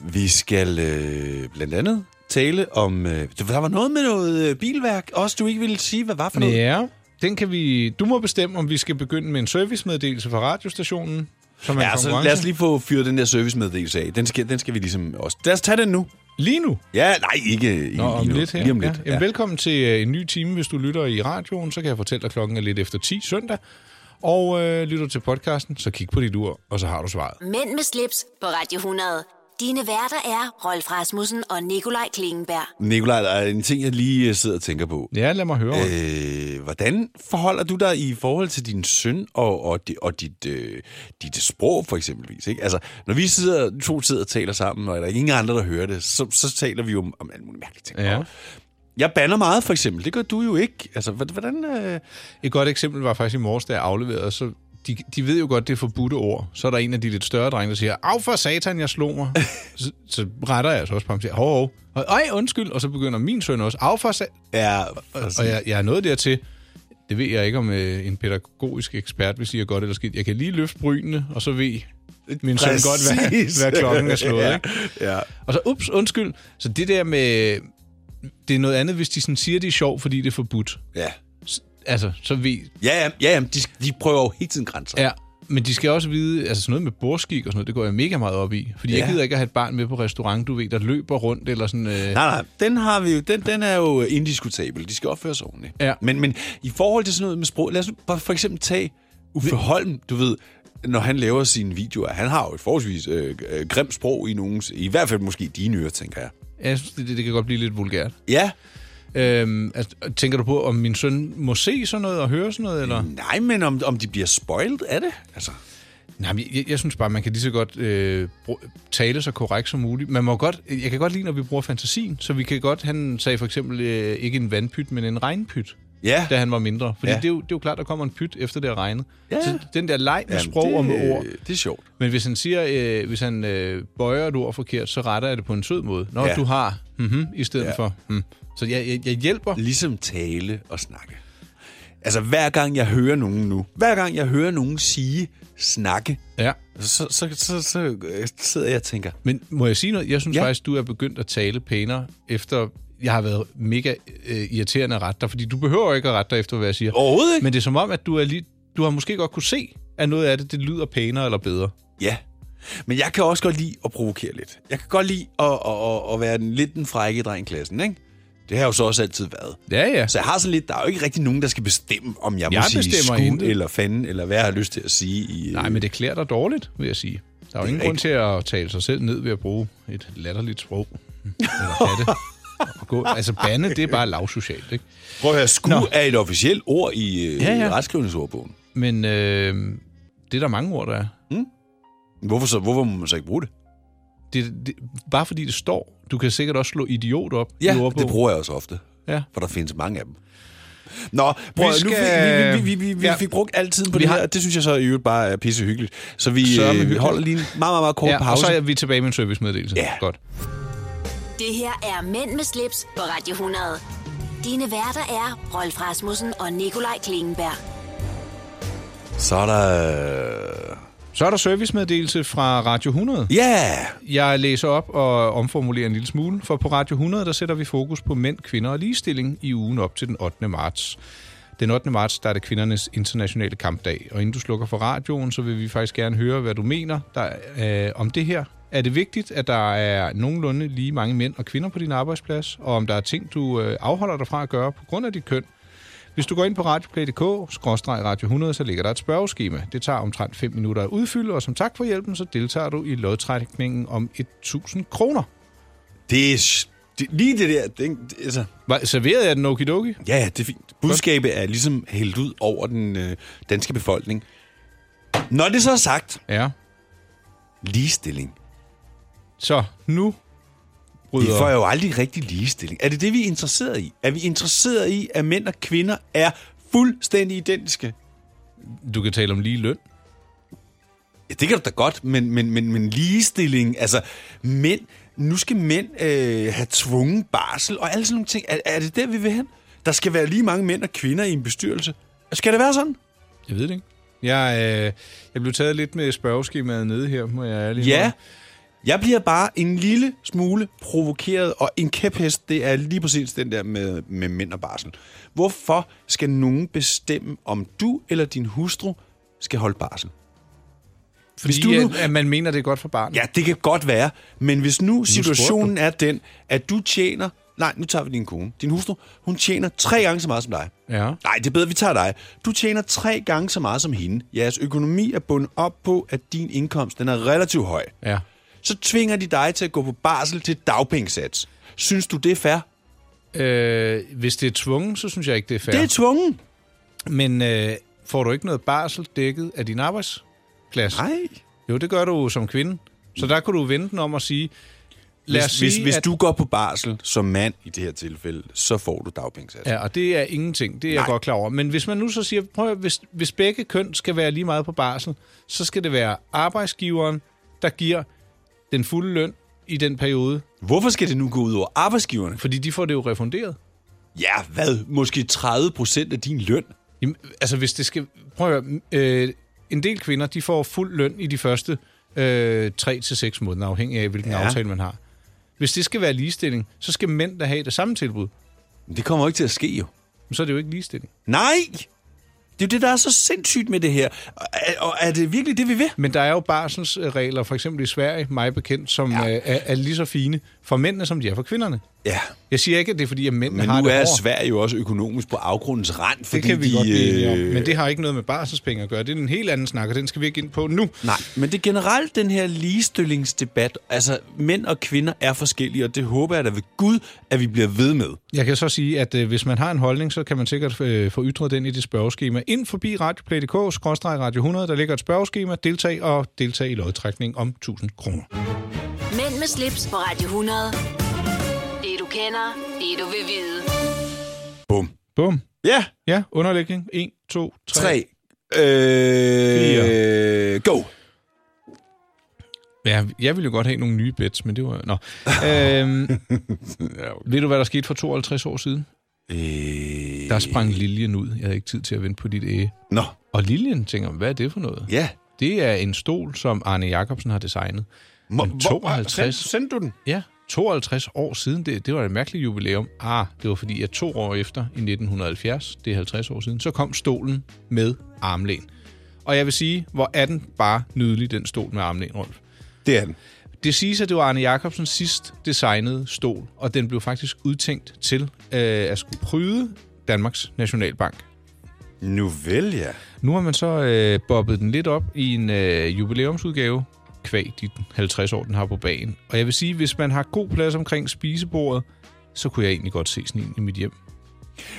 Vi skal øh, blandt andet tale om... Øh, der var noget med noget øh, bilværk, også du ikke ville sige, hvad var for noget.
Ja, den kan vi... Du må bestemme, om vi skal begynde med en servicemeddelelse fra radiostationen, som er ja,
Ja,
en
så
konkurrence.
lad os lige få fyret den der servicemeddelelse af. Den skal, den skal vi ligesom også... Lad os tage den nu.
lige nu.
Ja, nej, ikke, ikke
Nå, om
lige nu.
lidt her.
Lige om lidt.
Ja. Jamen, velkommen til øh, en ny time, hvis du lytter i radioen. Så kan jeg fortælle dig, at klokken er lidt efter 10 søndag. Og øh, lytter du til podcasten, så kig på dit ur, og så har du svaret.
Mænd med slips på Radio 100. Dine værter er Rolf Rasmussen og Nikolaj Klingenberg.
Nikolaj, der er en ting, jeg lige øh, sidder og tænker på.
Ja, lad mig høre. Øh.
Øh, hvordan forholder du dig i forhold til din søn og, og, di, og dit, øh, dit sprog, for eksempelvis? Ikke? Altså, når vi sidder, to sidder og taler sammen, og der er ingen andre, der hører det, så, så taler vi jo om, om alle mulige mærkelige ting.
Ja.
Jeg banner meget, for eksempel. Det gør du jo ikke. Altså, hv- hvordan... Øh...
Et godt eksempel var faktisk i morges, da jeg afleverede, så de, de ved jo godt, det er forbudte ord. Så er der en af de lidt større drenge, der siger, af for satan, jeg slog mig. så, så retter jeg så også på ham og siger, hov, hov. Og, Ej, undskyld. Og så begynder min søn også, af for satan.
Ja,
Og jeg, jeg er nået dertil, det ved jeg ikke, om øh, en pædagogisk ekspert vil sige er godt eller skidt. Jeg kan lige løfte brynene, og så ved min søn godt,
Præcis.
hvad, hvad klokken er slået.
ja,
ikke?
ja.
Og så, ups, undskyld. Så det der med, det er noget andet, hvis de sådan siger, det er sjovt, fordi det er forbudt.
Ja.
Altså, så ved
Ja, ja, ja, ja de, de prøver jo hele tiden grænser.
Ja, Men de skal også vide, altså sådan noget med borskik og sådan noget, det går jeg mega meget op i. Fordi ja. jeg
Ja.
gider ikke at have et barn med på restaurant, du ved, der løber rundt eller sådan... Øh,
Nej, nej, den, har vi jo, den, den er jo indiskutabel. De skal opføre sig ordentligt.
Ja.
Men, men i forhold til sådan noget med sprog, lad os nu bare for eksempel tage Uffe Holm, du ved, når han laver sine videoer. Han har jo et forholdsvis øh, øh, grimt sprog i nogens, i hvert fald måske dine ører, tænker jeg.
Jeg synes, det, det, det kan godt blive lidt vulgært.
Ja,
Øhm, altså, tænker du på, om min søn må se sådan noget og høre sådan noget? Eller?
nej, men om, om de bliver spoilt af det? Altså,
Nej, men jeg, jeg synes bare, man kan lige så godt øh, bru- tale så korrekt som muligt. Man må godt, jeg kan godt lide, når vi bruger fantasien, så vi kan godt, han sagde for eksempel øh, ikke en vandpyt, men en regnpyt,
ja.
da han var mindre. Fordi ja.
Ja.
det, er jo, det er jo klart, der kommer en pyt efter det har regnet.
Ja.
Så den der leg med
Jamen,
sprog og med ord.
Det er sjovt.
Men hvis han siger, øh, hvis han øh, bøjer et ord forkert, så retter jeg det på en sød måde. Nå, ja.
Ja.
du har mm-hmm, i stedet ja. for mm. Så jeg, jeg, jeg hjælper.
Ligesom tale og snakke. Altså, hver gang jeg hører nogen nu, hver gang jeg hører nogen sige snakke,
Ja.
så, så, så, så øh, sidder jeg og tænker,
Men må jeg sige noget? Jeg synes ja.
Ja.
faktisk, du er begyndt at tale pænere, efter jeg har været mega øh, irriterende at rette dig, fordi du behøver ikke at rette dig efter, hvad jeg siger.
overhovedet ikke.
Men det er som om, at du, er lige, du har måske godt kunne se, at noget af det, det lyder pænere eller bedre.
Ja. Men jeg kan også godt lide at provokere lidt. Jeg kan godt lide at, at, at, at være den, lidt den frække dreng i klassen, ikke? Det har jeg jo så også altid været.
Ja, ja.
Så jeg har sådan lidt, der er jo ikke rigtig nogen, der skal bestemme, om jeg,
Jeg
må sige
bestemmer
skud
intet.
eller fanden, eller hvad jeg har lyst til at sige. I, øh,
Nej, men det klæder dig dårligt, vil jeg sige. Der er jo
Det er
ingen grund til at tale sig selv ned ved at bruge et latterligt sprog. Eller katte. Og gå. Altså, bande, det er bare lavsocialt, ikke?
øh, Prøv at høre, skud
Nå.
er et officielt ord i, øh,
Ja,
ja,
ja.
ja. i retskrivningsordbogen.
Men øh, det er der mange ord, der er.
Hvorfor, så, hvorfor må man så ikke bruge det?
Det, det, bare fordi det står. Du kan sikkert også slå idiot op i
Ja,
ordbogen.
det bruger jeg også ofte,
Ja.
for der findes mange af dem. Nå, prøv,
Vi
vi,
skal-
skal... nu, fik- vi, vi, vi, vi, vi
Ja.
ja. fik brugt al tiden på
Vi
det
har-
her, og det synes jeg så i øvrigt bare er pissehyggeligt. Så vi
Sørme
øh, vi
hyggeligt.
holder lige en meget, meget, meget kort
Ja,
pause.
og så er vi tilbage med en servicemeddelelse.
Ja.
Godt.
Det her er Mænd med slips på Radio 100. Dine værter er Rolf Rasmussen og Nikolaj Klingenberg.
Så er der... øh,
Så er der servicemeddelelse fra Radio 100.
Ja!
Jeg læser op og omformulerer en lille smule, for på Radio 100 der sætter vi fokus på mænd, kvinder og ligestilling i ugen op til den 8. marts. Den 8. marts der er det kvindernes internationale kampdag, og inden du slukker for radioen, så vil vi faktisk gerne høre, hvad du mener der, øh, om det her. Er det vigtigt, at der er nogenlunde lige mange mænd og kvinder på din arbejdsplads, og om der er ting, du øh, afholder dig fra at gøre på grund af dit køn? Hvis du går ind på radioplay.dk, skråstreg radio 100, så ligger der et spørgeskema. Det tager omtrent 5 minutter at udfylde, og som tak for hjælpen, så deltager du i lodtrækningen om 1000 kroner.
Det er... s- Det, lige det der... Det, det, altså,
Var- Serverede jeg den okidoki?
ja, ja, det er fint. Budskabet er ligesom hældt ud over den øh, danske befolkning. Når det så er sagt,
Ja.
ligestilling.
Så nu
Vi
bryder...
får jo aldrig rigtig ligestilling. Er det det, vi er interesseret i? Er vi interesseret i, at mænd og kvinder er fuldstændig identiske?
Du kan tale om lige løn.
Ja, det kan du da godt, men, men, men, men ligestilling, altså mænd, nu skal mænd øh, have tvungen barsel og alle sådan nogle ting. Er, er det der, vi vil hen? Der skal være lige mange mænd og kvinder i en bestyrelse. Skal det være sådan?
Jeg ved det ikke. Jeg, øh, jeg blev taget lidt med spørgeskemaet nede her, må jeg ærligt
Ja.
indrømme.
Jeg bliver bare en lille smule provokeret, og en kæphest, det er lige præcis den der med, med mænd og barsel. Hvorfor skal nogen bestemme, om du eller din hustru skal holde barsel?
Fordi øh,
du nu-
at, at man mener, det er godt for barnet.
Ja, det kan godt være, men hvis nu
spurgte
situationen er den, at du tjener... Nej, nu tager vi din kone. Din hustru, hun tjener tre gange så meget som dig.
Ja.
Nej, det er bedre, vi tager dig. Du tjener tre gange så meget som hende. Jeres økonomi er bundet op på, at din indkomst den er relativt høj.
ja.
så tvinger de dig til at gå på barsel til dagpengesats. Synes du, det er fair? Ja.
Øh, hvis det er tvungen, så synes jeg ikke, det er fair.
Det er tvungen.
Men øh, får du ikke noget barsel dækket af din arbejdsplads?
Nej.
Jo, det gør du som kvinde. Så der kunne du vente den om at sige... Lad
Hvis,
os sige,
hvis, hvis
at,
du går på barsel som mand i det her tilfælde, så får du dagpengesats. Ja.
Ja, og det er ingenting. Det er Nej. jeg
Nej.
godt klar over. Men hvis man nu så siger, prøv at, høre, hvis, hvis begge køn skal være lige meget på barsel, så skal det være arbejdsgiveren, der giver den fulde løn i den periode.
Hvorfor skal det nu gå ud over arbejdsgiverne?
Fordi de får det jo refunderet.
Ja, hvad? Måske 30 procent af din løn?
Jamen, altså hvis det skal... Prøv at høre, øh, en del kvinder, de får fuld løn i de første øh, 3-6 måneder, afhængig af, hvilken ja.
Ja.
aftale man har. Hvis det skal være ligestilling, så skal mænd, der have det samme tilbud.
Det kommer jo ikke til at ske, jo.
Men så er det jo ikke ligestilling.
Nej! Det er jo det, der er så sindssygt med det her. Og er, og er det virkelig det, vi vil?
Men der er jo barselsregler, for eksempel i Sverige, mig bekendt, som ja. er, er lige så fine for mændene, som de er for kvinderne.
Ja.
Jeg siger ikke, at det er fordi, at mændene
Men
har
nu
det
er
hårdere.
Sverige jo også økonomisk på afgrundens rand, fordi
Det kan vi
de...
godt blive enige om.
øh,
Men det har ikke noget med barselspenge at gøre. Det er en helt anden snak, og den skal vi ikke ind på nu.
Nej, men det er generelt den her ligestillingsdebat. Altså, mænd og kvinder er forskellige, og det håber jeg da ved Gud, at vi bliver ved med.
Jeg kan så sige, at øh, hvis man har en holdning, så kan man sikkert øh, få ytret den i det spørgeskema. Ind forbi radioplay.dk, radio 100, der ligger et spørgeskema. Deltag og deltag i lodtrækning om 1000 kroner.
Mænd med slips på Radio 100. Det du kender, det du vil vide.
Bum.
Bum.
Ja,
Ja, underlægning. 1, 2, 3.
tre. Øh, go.
Ja, jeg ville jo godt have nogle nye bets, men det var... Nå. øhm, ved du, hvad der skete for 52 år siden?
Øh,
Der sprang Liljen ud. Jeg havde ikke tid til at vente på dit æge.
Nå,
Og Liljen tænker, hvad er det for noget?
ja.
Det er en stol, som Arne Jacobsen har designet.
Må,
Men
hvor-
52.
Send, sendte du den?
Ja, 52 år siden. Det, det var et mærkeligt jubilæum. Ah, det var fordi, at to år efter, i 1970, det er 50 år siden, så kom stolen med armlæn. Og jeg vil sige, hvor er den bare nydelig, den stol med armlæn, Rolf.
Det er den.
Det siges, at det var Arne Jacobsens sidst designede stol, og den blev faktisk udtænkt til øh, at skulle pryde Danmarks Nationalbank.
Nu vel, ja.
Nu har man så øh, bobbet den lidt op i en øh, jubilæumsudgave, kvæg de 50 år, den har på bagen. Og jeg vil sige, hvis man har god plads omkring spisebordet, så kunne jeg egentlig godt se sådan en i mit hjem.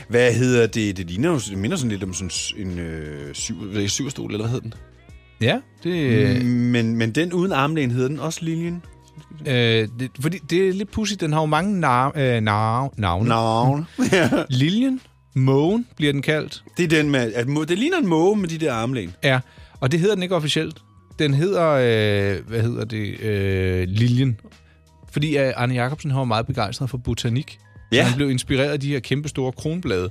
Hvad hedder det? Det, ligner, jo- det minder sådan lidt om sådan en øh, syv, hvad er det, syverstol, eller hvad hed den?
Ja, det,
Mm.
øh,
Men, men den uden armlæn hedder den også linjen?
øh, det, fordi det er lidt pudsigt. Den har jo mange nar- øh, nar- navne.
Navn. ja.
Liljen, Mågen bliver den kaldt.
Det er den med, at, må- det ligner en måge med de der armlæn.
Ja, og det hedder den ikke officielt. Den hedder, øh, hvad hedder det, øh, Liljen. Fordi øh, Arne Jacobsen har var meget begejstret for botanik.
Ja.
Så han blev inspireret af de her kæmpe store kronblade.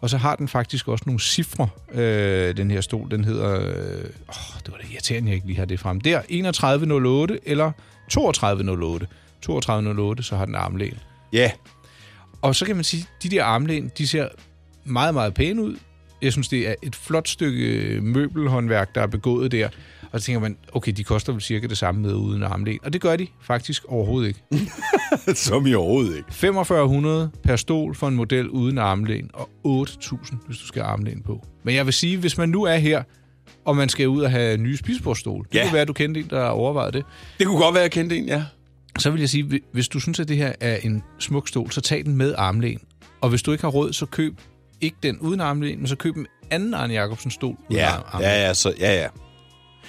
Og så har den faktisk også nogle cifre, øh, den her stol. Den hedder, øh, åh, det var da irriterende, jeg ikke lige har det frem. Der, 3108 eller 3208. 3208, så har den armlæn.
Ja.
Og så kan man sige, de der armlæn, de ser meget, meget pæne ud. Jeg synes, det er et flot stykke øh, møbelhåndværk, der er begået der. Og så tænker man, okay, de koster vel cirka det samme med uden armlæn. Og det gør de faktisk overhovedet ikke.
Som i overhovedet ikke.
4500 per stol for en model uden armlæn, og 8000, hvis du skal have armlæn på. Men jeg vil sige, hvis man nu er her, og man skal ud og have nye spisbordstole, det
Ja.
kunne være, at du kendte en, der overvejede det,
Det kunne godt være, at jeg kendte en, ja.
så vil jeg sige, hvi- hvis du synes, at det her er en smuk stol, så tag den med armlæn. Og hvis du ikke har råd, så køb ikke den uden armlæn, men så køb en anden Arne Jacobsen stol uden
Ja,
arm- armlæn.
ja, ja, så, ja, ja.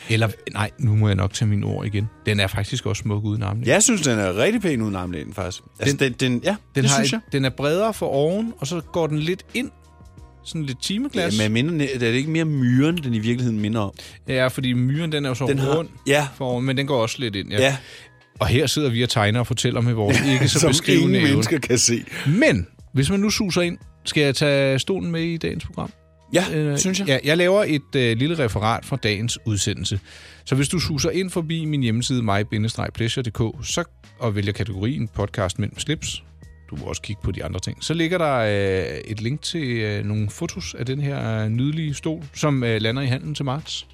Eller, nej, nu må jeg nok tage mine ord igen. Den er faktisk også smuk uden armlæn.
Jeg synes, den er rigtig pæn uden armlænen, faktisk. Altså, den, den, ja, den
den,
det
har
synes
et-
jeg.
den er bredere for oven, og så går den lidt ind, sådan lidt timeglas.
Ja, men minder, den- er det ikke mere myren, den i virkeligheden minder om?
Ja, fordi myren, den er jo så
Den
den
har-
rund
ja.
foroven, men den går også lidt ind. Ja.
Ja,
Og her sidder vi og tegner og fortæller med vores ikke så
som
beskrivende
ingen
evne.
mennesker kan se.
Men hvis man nu suser ind, skal jeg tage stolen med i dagens program?
Ja,
Øh,
synes jeg.
Ja, jeg laver et øh, lille referat fra dagens udsendelse. Så hvis du suser ind forbi min hjemmeside mig-pleasure.dk så, og vælger kategorien podcast mellem slips, du må også kigge på de andre ting, så ligger der øh, et link til øh, nogle fotos af den her øh, nydelige stol, som øh, lander i handen til marts.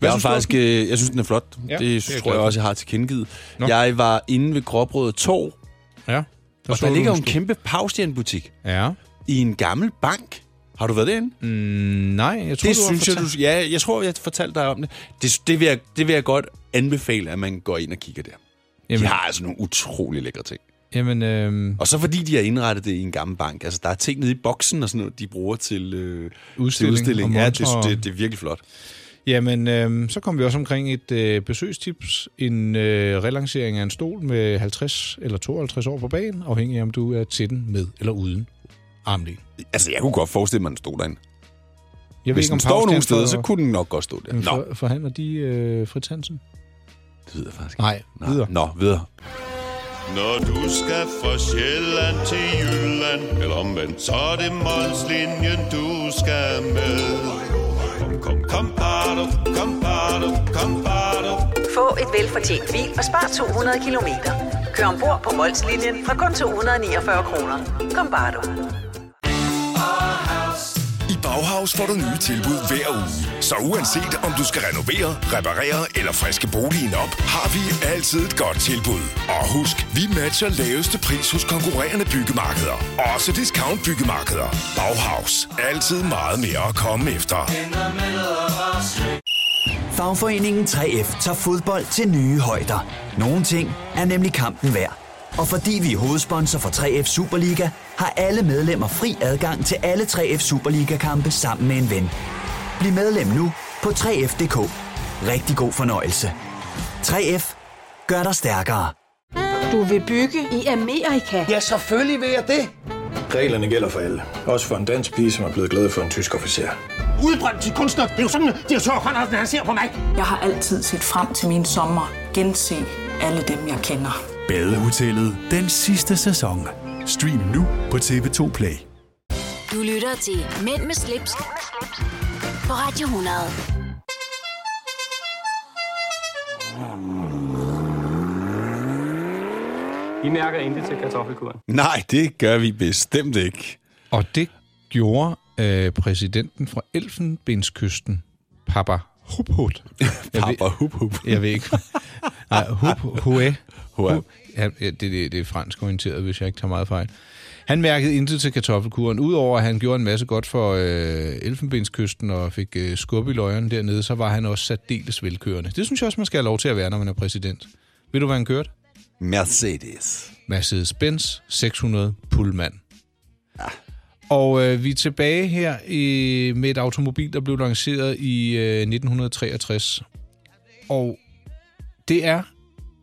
Jeg, synes,
synes du om
faktisk, øh, jeg synes, den er flot.
Ja,
Ja,
det er
det, det tror
jeg glad
jeg
for.
også, jeg har tilkendegivet.
Nå.
Jeg var inde ved Gråbrød Torv,
Ja, der,
og
så
der
du
ligger jo en
stol.
kæmpe Paustian-butik
Ja.
i en gammel bank. Har du været derinde?
Mm, nej, jeg tror,
Det
du har
synes jeg,
fortalt-
du... Ja, jeg tror, jeg fortalte dig om det. Det, det, vil jeg, det vil jeg godt anbefale, at man går ind og kigger der.
Jamen.
De har altså nogle utrolig lækre ting.
Jamen, øh,
Og så fordi de har indrettet det i en gammel bank. Altså, der er ting nede i boksen og sådan noget, de bruger til, øh, til
Udstilling
udstilling.
og
Ja, det,
montre og-
det, det er virkelig flot.
Jamen, øh, så kom vi også omkring et øh, besøgstips. En øh, relancering af en stol med 50 eller 52 år på banen, afhængig af om du er til den med eller uden armlæn.
Altså, jeg kunne godt forestille mig, at den stod derinde.
Jeg
Hvis den står nogle steder, så
så
kunne den nok godt stå der. Nå,
for, forhandler de øh, Fritz Hansen?
det ved jeg faktisk ikke.
Nej,
Nå,
videre.
Nå, videre.
Når du skal fra Sjælland til Jylland Eller omvendt, så er det Molslinjen, du skal med Kom, kom, kom, bado, kom, bado, kom, bado.
Få et velfortjent bil og spar 200 kilometer. Kør ombord på Molslinjen fra kun 249 kroner. Kom bare du.
I Bauhaus får du nye tilbud hver uge. Så uanset om du skal renovere, reparere eller friske boligen op, har vi altid et godt tilbud. Og husk, vi matcher laveste pris hos konkurrerende byggemarkeder. Også discount byggemarkeder. Bauhaus. Altid meget mere at komme efter.
Fagforeningen 3F tager fodbold til nye højder. Nogle ting er nemlig kampen værd. Og fordi vi er hovedsponsor for 3F Superliga, har alle medlemmer fri adgang til alle 3F Superliga-kampe sammen med en ven. Bliv medlem nu på 3F.dk. Rigtig god fornøjelse. 3F gør dig stærkere.
Du vil bygge i Amerika?
Ja, selvfølgelig vil jeg det.
Reglerne gælder for alle. Også for en dansk pige, som er blevet glad for en tysk officer.
Udbrændt til kunstner. Det er jo sådan, at de har tørt, han ser på mig.
Jeg har altid set frem til min sommer. Gense alle dem, jeg kender.
Badehotellet den sidste sæson. Stream nu på TV2 Play.
Du lytter til Mænd med slips, på Radio 100.
I mærker intet til kartoffelkuren.
Nej, det gør vi bestemt ikke.
Og det gjorde øh, præsidenten fra Elfenbenskysten, Papa Huput.
Papa Hup Hup.
Jeg ved ikke. Nej, Hup Hue.
Hua.
Hup. Ja, det, det, det er fransk orienteret, hvis jeg ikke tager meget fejl. Han mærkede intet til kartoffelkuren. Udover at han gjorde en masse godt for øh, Elfenbenskysten og fik øh, skub i løjerne dernede, så var han også særdeles velkørende. Det synes jeg også, man skal have lov til at være, når man er præsident. Ved du, hvad han kørte?
Mercedes.
Mercedes-Benz 600 Pullman. Og øh, vi er tilbage her i, med et automobil, der blev lanceret i øh, 1963. Og det er...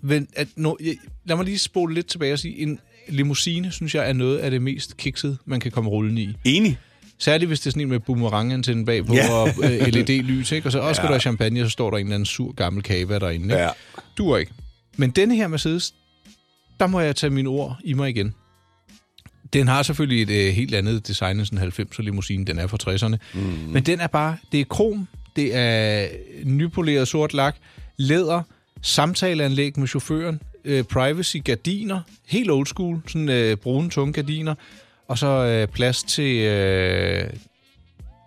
Vel, at no, jeg, lad mig lige spole lidt tilbage og sige, en limousine, synes jeg, er noget af det mest kiksede, man kan komme rullende i.
Enig.
Særligt hvis det er sådan en med boomerangantænden bagpå
Ja.
ja. og øh, LED-lys, ikke? Og så også skal du have champagne, og så står der en eller anden sur gammel kava derinde, ikke?
Ja.
Duer ikke. Men denne her Mercedes, der må jeg tage mine ord i mig igen. Den har selvfølgelig et øh, helt andet design end sådan en 90'er limousine, den er fra 60'erne. Mm. Men den er bare, det er krom, det er nypoleret sort lak, læder, samtaleanlæg med chaufføren, øh, privacy gardiner, helt old school, sådan øh, brune tunge gardiner, og så øh, plads til, øh,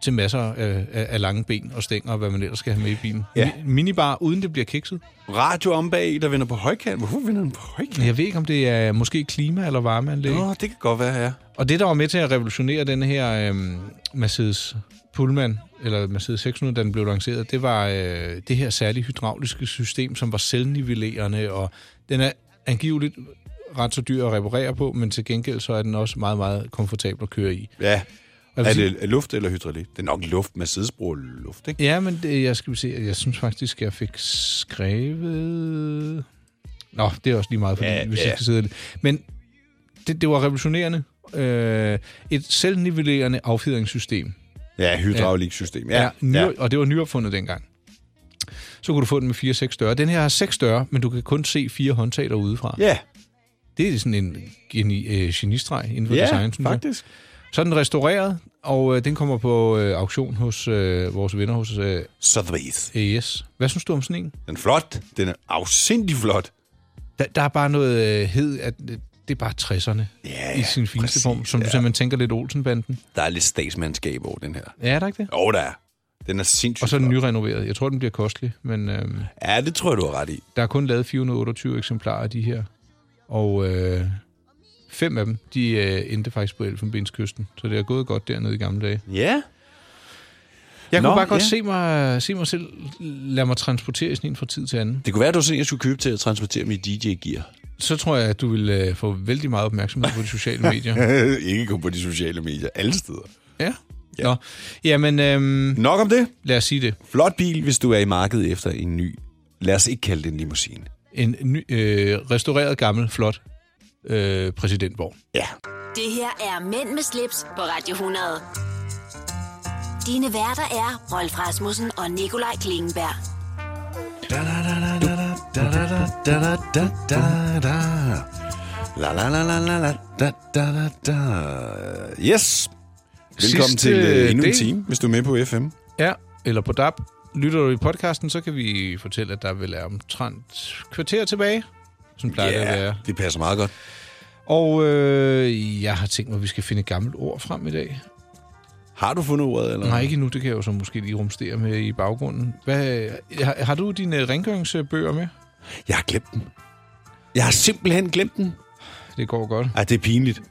til masser af, af, af lange ben og stænger, og hvad man ellers skal have med i bilen.
Ja.
Mi- minibar, uden det bliver kikset.
Radio om bag, der vender på højkant. Hvorfor vender den på højkant?
Jeg ved ikke, om det er måske klima- eller varmeanlæg.
Nå, det kan godt være, ja.
Og det, der var med til at revolutionere den her øhm, Mercedes Pullman, eller Mercedes 600, da den blev lanceret, det var øh, det her særlige hydrauliske system, som var selvnivellerende, og den er angiveligt ret så dyr at reparere på, men til gengæld så er den også meget, meget komfortabel at køre i.
Ja.
Jeg vil
Er
sige-
det luft eller hydraulik? Det er nok luft. Mercedes bruger luft, ikke?
Ja, men det, jeg skal se, jeg synes faktisk, jeg fik skrevet... Nå, det er også lige meget, fordi,
Ja,
ja, hvis
ja.
jeg skal sidde lidt. Men det, det var revolutionerende. Øh, et selvnivellerende affjedringssystem.
Ja, hydrauliksystem. Ja,
Ja, ny,
ja.
Og det var nyopfundet dengang. Så kunne du få den med 4-6 døre. Den her har 6 døre, men du kan kun se fire håndtag derudefra.
Ja,
Det er sådan en geni, øh, genistreg inden for
ja
design, synes jeg.
faktisk.
Så er den restaureret, og øh, den kommer på øh, auktion hos øh, vores venner hos øh,
Sotheby's.
AES. Hvad synes du om sådan en?
Den er flot. Den er afsindig flot.
Der, der er bare noget øh, hed, at øh, det er bare 60'erne
Ja,
i sin fineste
præcis,
form, som
ja.
du sagde, man tænker lidt Olsenbanden.
Der er lidt statsmandskab over den her.
Ja, er der ikke det?
Jo, der er. Den er sindssygt
Og så er den
flot.
nyrenoveret. Jeg tror, den bliver kostelig, men øh,
Ja, det tror jeg, du har ret i.
der er kun lavet 428 eksemplarer af de her. Og øh, fem af dem, de øh, endte faktisk på Elfenbenskysten, så det er gået godt dernede i gamle dage.
Ja.
Jeg
Nå,
Nå, kunne bare godt
ja.
ja. se, mig, se mig selv lade mig transportere i sådan en fra tid til anden.
Det kunne være, at du sådan, jeg skulle købe til at transportere mit DJ-gear.
Så tror jeg, at du vil øh, få vældig meget opmærksomhed på de sociale medier.
Ikke kun på de sociale medier. Alle steder.
Ja. ja. Nå. Jamen, øh,
Nok om det.
lad os sige det.
Flot bil, hvis du er i markedet efter en ny. Lad os ikke kalde det en limousine.
En ny, øh, restaureret, gammel, flot øh, præsidentborg.
Ja.
Det her er Mænd med slips på Radio 100. Dine værter er Rolf Rasmussen og Nikolaj Klingenberg.
La la la la la la da da da da. Yes. Velkommen
Sidste
til øh, endnu en
del.
time, hvis du er med på FM.
Ja, eller på DAB. Lytter du i podcasten, så kan vi fortælle, at der vil være omtrent kvarter tilbage. Sådan plejer yeah. det at være.
det passer meget godt.
Og øh, jeg har tænkt mig, at vi skal finde et gammelt ord frem i dag.
Har du fundet ordet? Eller?
Nej, ikke endnu. Det kan jeg jo så måske lige rumstere med i baggrunden. Hvad, har, har du dine rengøringsbøger med?
Jeg har glemt dem. Jeg har simpelthen glemt dem.
Det går godt.
Ej, det er pinligt.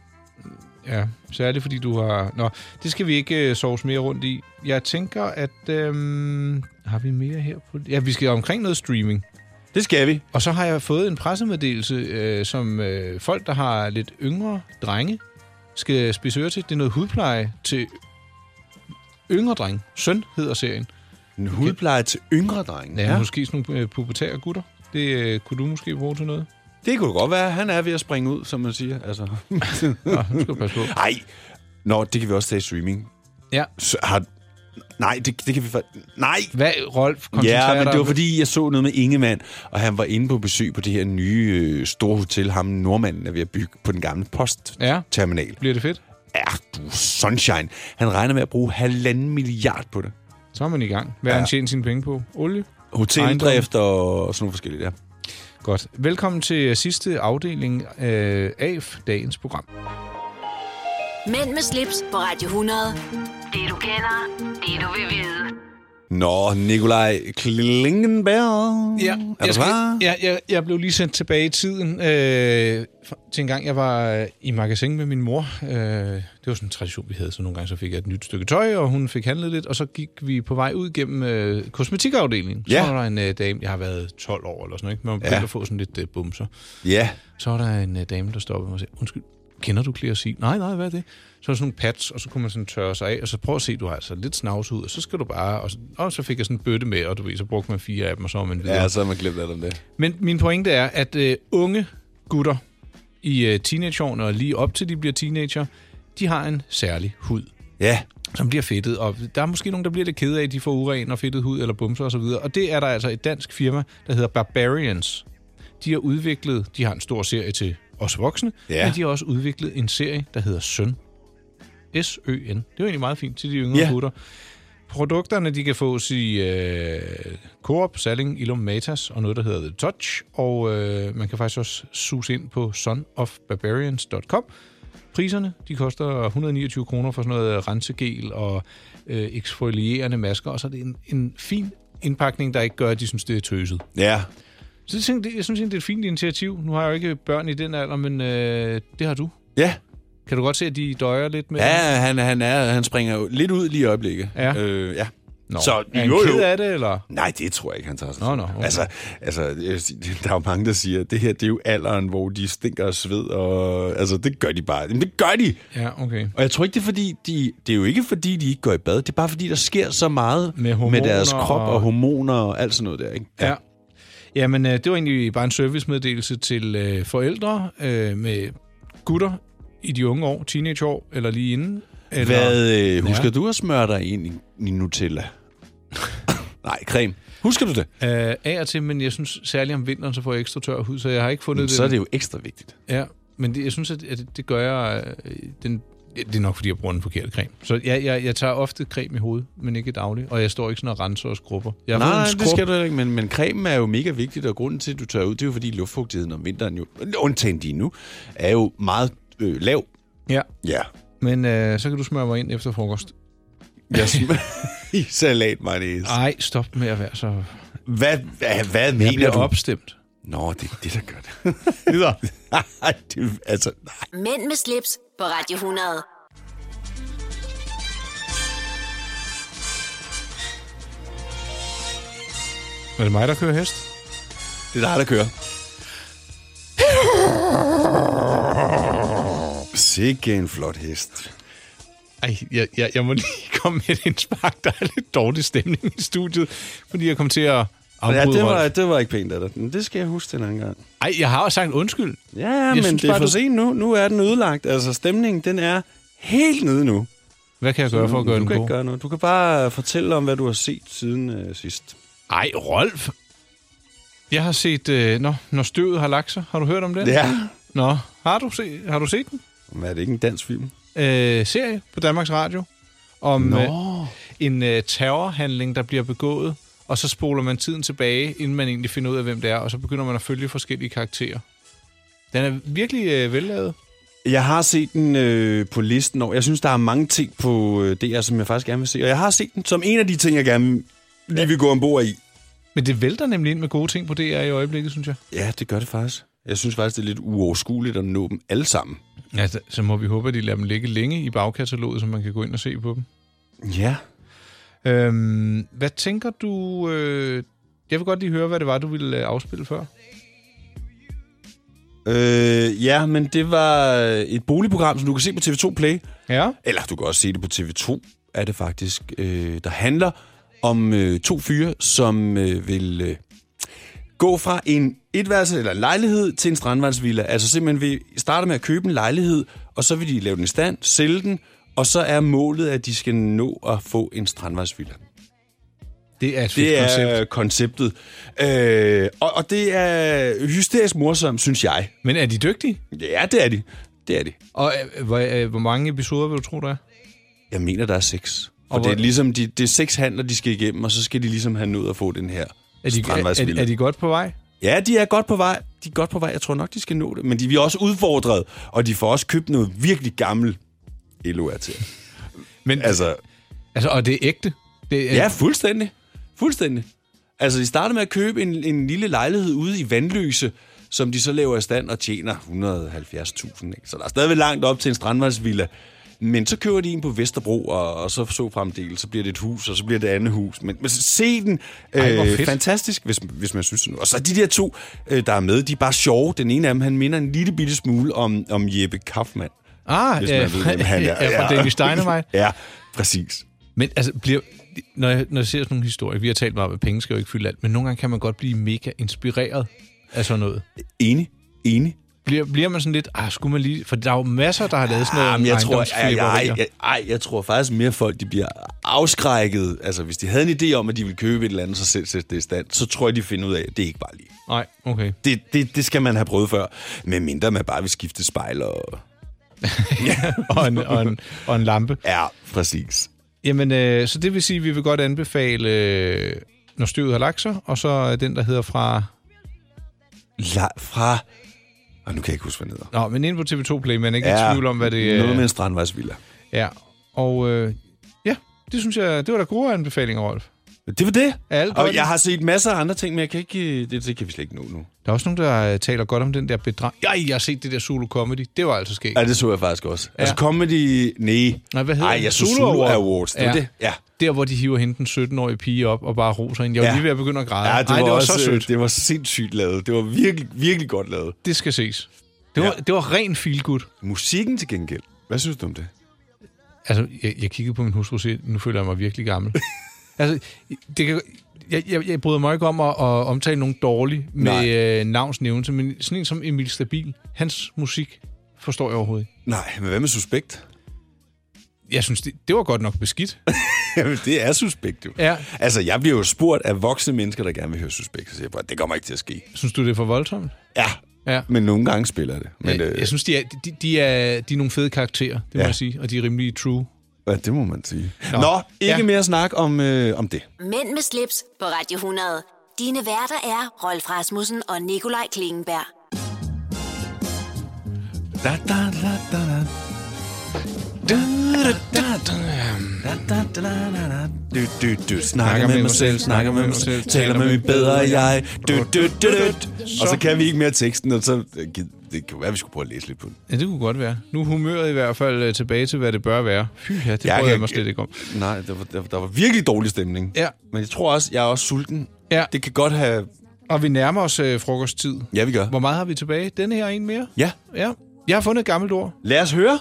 Ja, så er det, fordi du har... Nå, det skal vi ikke øh, sovs mere rundt i. Jeg tænker, at... Øhm, har vi mere her på... Ja, vi skal omkring noget streaming.
Det skal vi.
Og så har jeg fået en pressemeddelelse, øh, som øh, folk, der har lidt yngre drenge, skal spise øre til. Det er noget hudpleje til yngre drenge. Søn hedder serien.
En hudpleje til yngre drenge?
Ja, ja. måske sådan nogle øh, pubertære gutter. Det øh, kunne du måske bruge til noget.
Det kunne det godt være. Han er ved at springe ud, som man siger. Altså.
Nå, nu skal du passe på.
Ej. Nå, det kan vi også tage i streaming.
Ja.
Så har... Nej, det, det kan vi fa- Nej!
Hvad, Rolf? Koncentrer
Ja, men
dig
det var
om-
fordi, jeg så noget med Ingemann, og han var inde på besøg på det her nye øh, store hotel, ham nordmanden er ved at bygge på den gamle
Ja.
postterminal. Ja.
Bliver det fedt?
Du, sunshine. Han regner med at bruge halvanden milliard på det.
Så er man i gang. Hvad har
Ja.
han tjent sine penge på? Olie?
Hoteldrift og sådan nogle forskellige der.
Godt. Velkommen til sidste afdeling øh, af dagens program.
Mænd med slips på Radio 100. Det du kender, det du vil vide.
Nå, Nikolaj Klingenberg.
Ja,
er du
jeg, skal,
klar?
jeg, jeg, jeg blev lige sendt tilbage i tiden øh, fra- til en gang, jeg var øh, i magasin med min mor. Øh, det var sådan en tradition, vi havde, så nogle gange så fik jeg et nyt stykke tøj, og hun fik handlet lidt, og så gik vi på vej ud gennem øh, kosmetikafdelingen.
Ja.
Så var der en øh, dame, jeg har været 12 år eller sådan noget, ikke? men man begyndte
Ja.
at få sådan lidt øh, bumser.
Ja.
Så var der en øh, dame, der stoppede mig og sagde, undskyld, kender du Clearasil? Nej, nej, hvad er det? Så var der sådan nogle pads, og så kunne man sådan tørre sig af, og så prøv at se, du har altså lidt snavs ud, og så skal du bare... Og så, og så fik jeg sådan en bøtte med, og du ved, så brugte man fire af dem, og så var man videre.
Ja, så har man glemt alt om det.
Men min pointe er, at øh, unge gutter i øh, teenageårene og lige op til de bliver teenager, de har en særlig hud.
Ja.
Som bliver fedtet, og der er måske nogen, der bliver lidt ked af, at de får uren og fedtet hud eller bumser osv. Og det er der altså et dansk firma, der hedder Barbarians. De har udviklet, de har en stor serie til os voksne,
Ja.
men de har også udviklet en serie, der hedder Søn. S-Ø-N. Det er jo egentlig meget fint til de yngre
Ja.
gutter. Produkterne, de kan fås i øh, Coop, Salling, Ilum Matas og noget, der hedder The Touch. Og øh, man kan faktisk også suse ind på sonofbarbarians.com. Priserne, de koster 129 kroner for sådan noget øh, rensegel og øh, eksfolierende masker. Og så er det en, en fin indpakning, der ikke gør, at de synes, det er tøset.
Ja.
Så jeg tænkte, jeg synes, egentlig, det er et fint initiativ. Nu har jeg jo ikke børn i den alder, men øh, det har du.
Ja.
Kan du godt se, at de døjer lidt med
Ja, han, han, er, han springer jo lidt ud lige i øjeblikket.
Ja.
Øh, ja.
Nå,
så,
er han
jo, jo.
ked af det, eller?
Nej, det tror jeg ikke, han tager sig
Nå,
til.
nå, okay.
altså, altså, jeg vil sige, der er jo mange, der siger, at det her det er jo alderen, hvor de stinker og sved, og altså, det gør de bare. Jamen, det gør de!
Ja, okay.
Og jeg tror ikke, det er, fordi de, det er jo ikke, fordi de ikke går i bad. Det er bare, fordi der sker så meget
Med
med deres
hormoner
krop og...
og-
og hormoner og alt sådan noget der. Ikke?
Ja. Jamen, øh, det var egentlig bare en servicemeddelelse til øh, forældre øh, med gutter i de unge år, teenageår eller lige inden. Eller,
Hvad øh, husker
Ja.
du at smøre dig ind i, i Nutella? Nej, creme. Husker du det?
Øh, af og til, men jeg synes særligt om vinteren, så får jeg ekstra tør hud, så jeg har ikke fundet
Jamen,
det.
så er det jo ekstra vigtigt.
Ja, men det, jeg synes, at, at det gør jeg... Øh, den, det er nok, fordi jeg bruger den forkerte creme. Så jeg, jeg, jeg tager ofte creme i hovedet, men ikke dagligt. Og jeg står ikke sådan og renser og skrubber. Jeg har
Nej,
fået en
nej, det
skrub-
skal du heller ikke, men, men cremen er jo mega vigtigt, og grunden til, at du tør ud, det er jo fordi luftfugtigheden om vinteren jo, undtagen lige nu, er jo meget øh, lav.
Ja,
Ja.
men øh, så kan du smøre mig ind efter frokost.
Jeg sm- i salat mayonnaise.
Nej, stop med at være så...
Hvad, hvad, hvad
Jeg
mener
bliver
du?
opstemt.
Nå, det er det, der gør det. Videre. Ej, det, altså, nej.
Mænd med slips på Radio 100.
Er det mig, der kører hest?
Det er dig, der kører. Sikke en flot hest.
Ej, jeg, jeg, jeg må lige komme med et indspark. Der er lidt dårlig stemning i studiet, fordi jeg kom til at afbryde
Ja, det var,
Rolf.
det var ikke pænt af dig. Men det skal jeg huske den anden gang.
Ej, jeg har også sagt undskyld.
Ja, jeg men
synes
det er
bare,
for
du-
sent nu. Nu er den ødelagt. Altså, stemningen, den er helt nede nu.
Hvad kan jeg gøre for at gøre
Mm, du
den
kan
god?
ikke gøre noget. Du kan bare fortælle om, hvad du har set siden øh, sidst.
Ej, Rolf! Jeg har set, øh, nå, Når støvet har lagt sig. Har du hørt om den?
Ja.
Nå, har du, se, har du set den?
Men er det ikke en dansk film?
Øh, serie på Danmarks Radio om
Nå.
øh, en øh, terrorhandling, der bliver begået, og så spoler man tiden tilbage, inden man egentlig finder ud af, hvem det er, og så begynder man at følge forskellige karakterer. Den er virkelig øh, vellavet.
Jeg har set den øh, på listen over. Jeg synes, der er mange ting på øh, DR, som jeg faktisk gerne vil se. Og jeg har set den som en af de ting, jeg gerne lige vil gå ombord i.
Men det vælter nemlig ind med gode ting på DR i øjeblikket, synes jeg.
Ja, det gør det faktisk. Jeg synes faktisk, det er lidt uoverskueligt at nå dem alle sammen.
Ja, så- så må vi håbe, at de lader dem ligge længe i bagkataloget, så man kan gå ind og se på dem.
Ja.
Øhm, hvad tænker du... Øh, jeg vil godt lige høre, hvad det var, du ville øh, afspille før.
Øh, ja, men det var et boligprogram, som du kan se på TV2 Play.
Ja.
Eller du kan også se det på TV2, er det faktisk. Øh, der handler om øh, to fyre, som øh, vil øh, gå fra en etværelse eller en lejlighed til en strandvejsvilla. Altså simpelthen vil starte med at købe en lejlighed, og så vil de lave den i stand, sælge den, og så er målet, at de skal nå at få en strandvejsvilla.
Det er et fedt
Det
koncept.
er konceptet. Øh, og, og det er hysterisk morsomt, synes jeg.
Men er de dygtige?
Ja, det er de. Det er de.
Og øh, hvor, øh, hvor mange episoder vil du tro, der er?
Jeg mener, der er seks. Og,
Og
det er
hvor-
ligesom, de, det er seks handler, de skal igennem, og så skal de ligesom have nået at få den her
Er de, er, er,
strandvejsvilla.
er de godt på vej?
Ja, de er godt på vej. De er godt på vej. Jeg tror nok, de skal nå det. Men de bliver også udfordret, og de får også købt noget virkelig gammel LOR til.
Men,
altså,
altså, og det er ægte? Det er,
Ja, fuldstændig. Fuldstændig. Altså, de starter med at købe en, en lille lejlighed ude i Vandløse, som de så laver i stand og tjener 170.000. ikke? Så der er stadigvæk langt op til en strandvejsvilla. Men så kører de en på Vesterbro, og, og så så fremdel, så bliver det et hus, og så bliver det et andet hus. Men, men se den. øh,
Ej, hvor fedt.
fantastisk, hvis, hvis man synes det nu. Og så de der to, øh, der er med, de er bare sjove. Den ene af dem, han minder en lille bitte smule om, om Jeppe Kaufmann.
Ah,
hvis
ja,
man ved, hvem han er.
ja, fra Danish Dynamite.
ja, præcis.
Men altså, bliver, når, jeg, når jeg ser sådan nogle historier, vi har talt meget om, at penge skal jo ikke fylde alt, men nogle gange kan man godt blive mega inspireret af sådan noget.
Enig, enig.
Bliver, bliver man sådan lidt, ah, skulle man lige... For der er jo masser, der har lavet sådan noget
Jamen, Ah, jeg tror, jeg,
ejendomsflipperier.
jeg, jeg, ej, jeg tror faktisk mere folk, de bliver afskrækket. Altså, hvis de havde en idé om, at de ville købe et eller andet, så selv sætte det i stand, så tror jeg, de finder ud af, at det er ikke bare lige.
Nej, okay.
Det, det, det skal man have prøvet før. Med mindre man bare vil skifte spejl og...
og, en, og, en, og en lampe.
Ja, præcis.
Jamen, øh, så det vil sige, at vi vil godt anbefale, øh, når støvet har lagt sig, og så øh, den, der hedder fra...
La, fra... Og nu kan jeg ikke huske, hvad den hedder.
Nå, men inde på TV2 Play, man er ikke ja, i tvivl om, hvad det øh, er.
Noget med en strandvejsvilla.
Ja, og øh, ja, det synes jeg, det var da gode anbefalinger, Rolf.
Det var det.
Alt
Og jeg har set masser af andre ting, men jeg kan ikke... øh, Det, det kan vi slet ikke nå nu.
Der er også nogen, der øh, taler godt om den der bedrag. Ja, jeg har set det der solo comedy. Det var altså sket.
Ja, det så jeg faktisk også. Ja. Altså, comedy... Nej.
Nej, hvad hedder
Ej,
den?
jeg så Zulu Awards. Det
ja.
var det. Ja.
Der, hvor de hiver hende den 17-årige pige op og bare roser hende. Jeg var
Ja.
lige ved at begynde at græde.
Ja, det var,
Ej, det var
også, øh,
så sødt.
Det var sindssygt lavet. Det var virkelig, virkelig godt lavet.
Det skal ses. Det var, ja. det var ren feel good.
Musikken til gengæld. Hvad synes du om det?
Altså, jeg, jeg kiggede på min hustru og sagde, nu føler jeg mig virkelig gammel. altså, det kan, jeg, jeg, jeg bryder mig ikke om at, at omtale nogen dårlige med
Nej.
øh, navnsnævnelse, men sådan en som Emil Stabil, hans musik forstår jeg overhovedet ikke.
Nej, men hvad med suspekt?
Jeg synes, det, det var godt nok beskidt.
Jamen, det er suspekt jo.
Ja.
Altså, jeg bliver jo spurgt af voksne mennesker, der gerne vil høre suspekt. Så siger jeg bare, det kommer ikke til at ske.
Synes du, det er for voldsomt?
Ja,
Ja.
men nogle gange spiller det. Men, øh,
jeg, jeg synes, de er, de, de, er, de er nogle fede karakterer, det øh, ja. må
Ja.
jeg sige, og de er rimelig true.
Ja, det må man sige. Nå, Nå ikke
Ja.
ja. mere snak om, øh, om det.
Mænd med slips på Radio 100. Dine værter er Rolf Rasmussen og Nikolaj Klingenberg.
Da, da, da, da, da. Da, da, da, da. Da, da, da, da, da. Du, du, du. Snakker med mig selv, snakker med mig selv, taler med mit bedre jeg. Du, du, du, du. Og så kan vi ikke mere teksten, og så... øh, Det kan jo være, at vi skulle prøve at læse lidt på den.
Ja, det kunne godt være. Nu er humøret i hvert fald øh, tilbage til, hvad det bør være. Fy ja, det prøver jeg mig slet ikke om.
Nej, der var, der, der var virkelig dårlig stemning.
Ja.
Men jeg tror også, jeg er også sulten.
Ja.
Det kan godt have...
Og vi nærmer os øh, frokosttid.
Ja, vi gør.
Hvor meget har vi tilbage? Denne her og en mere?
Ja.
Ja. Jeg har fundet et gammelt ord.
Lad os høre.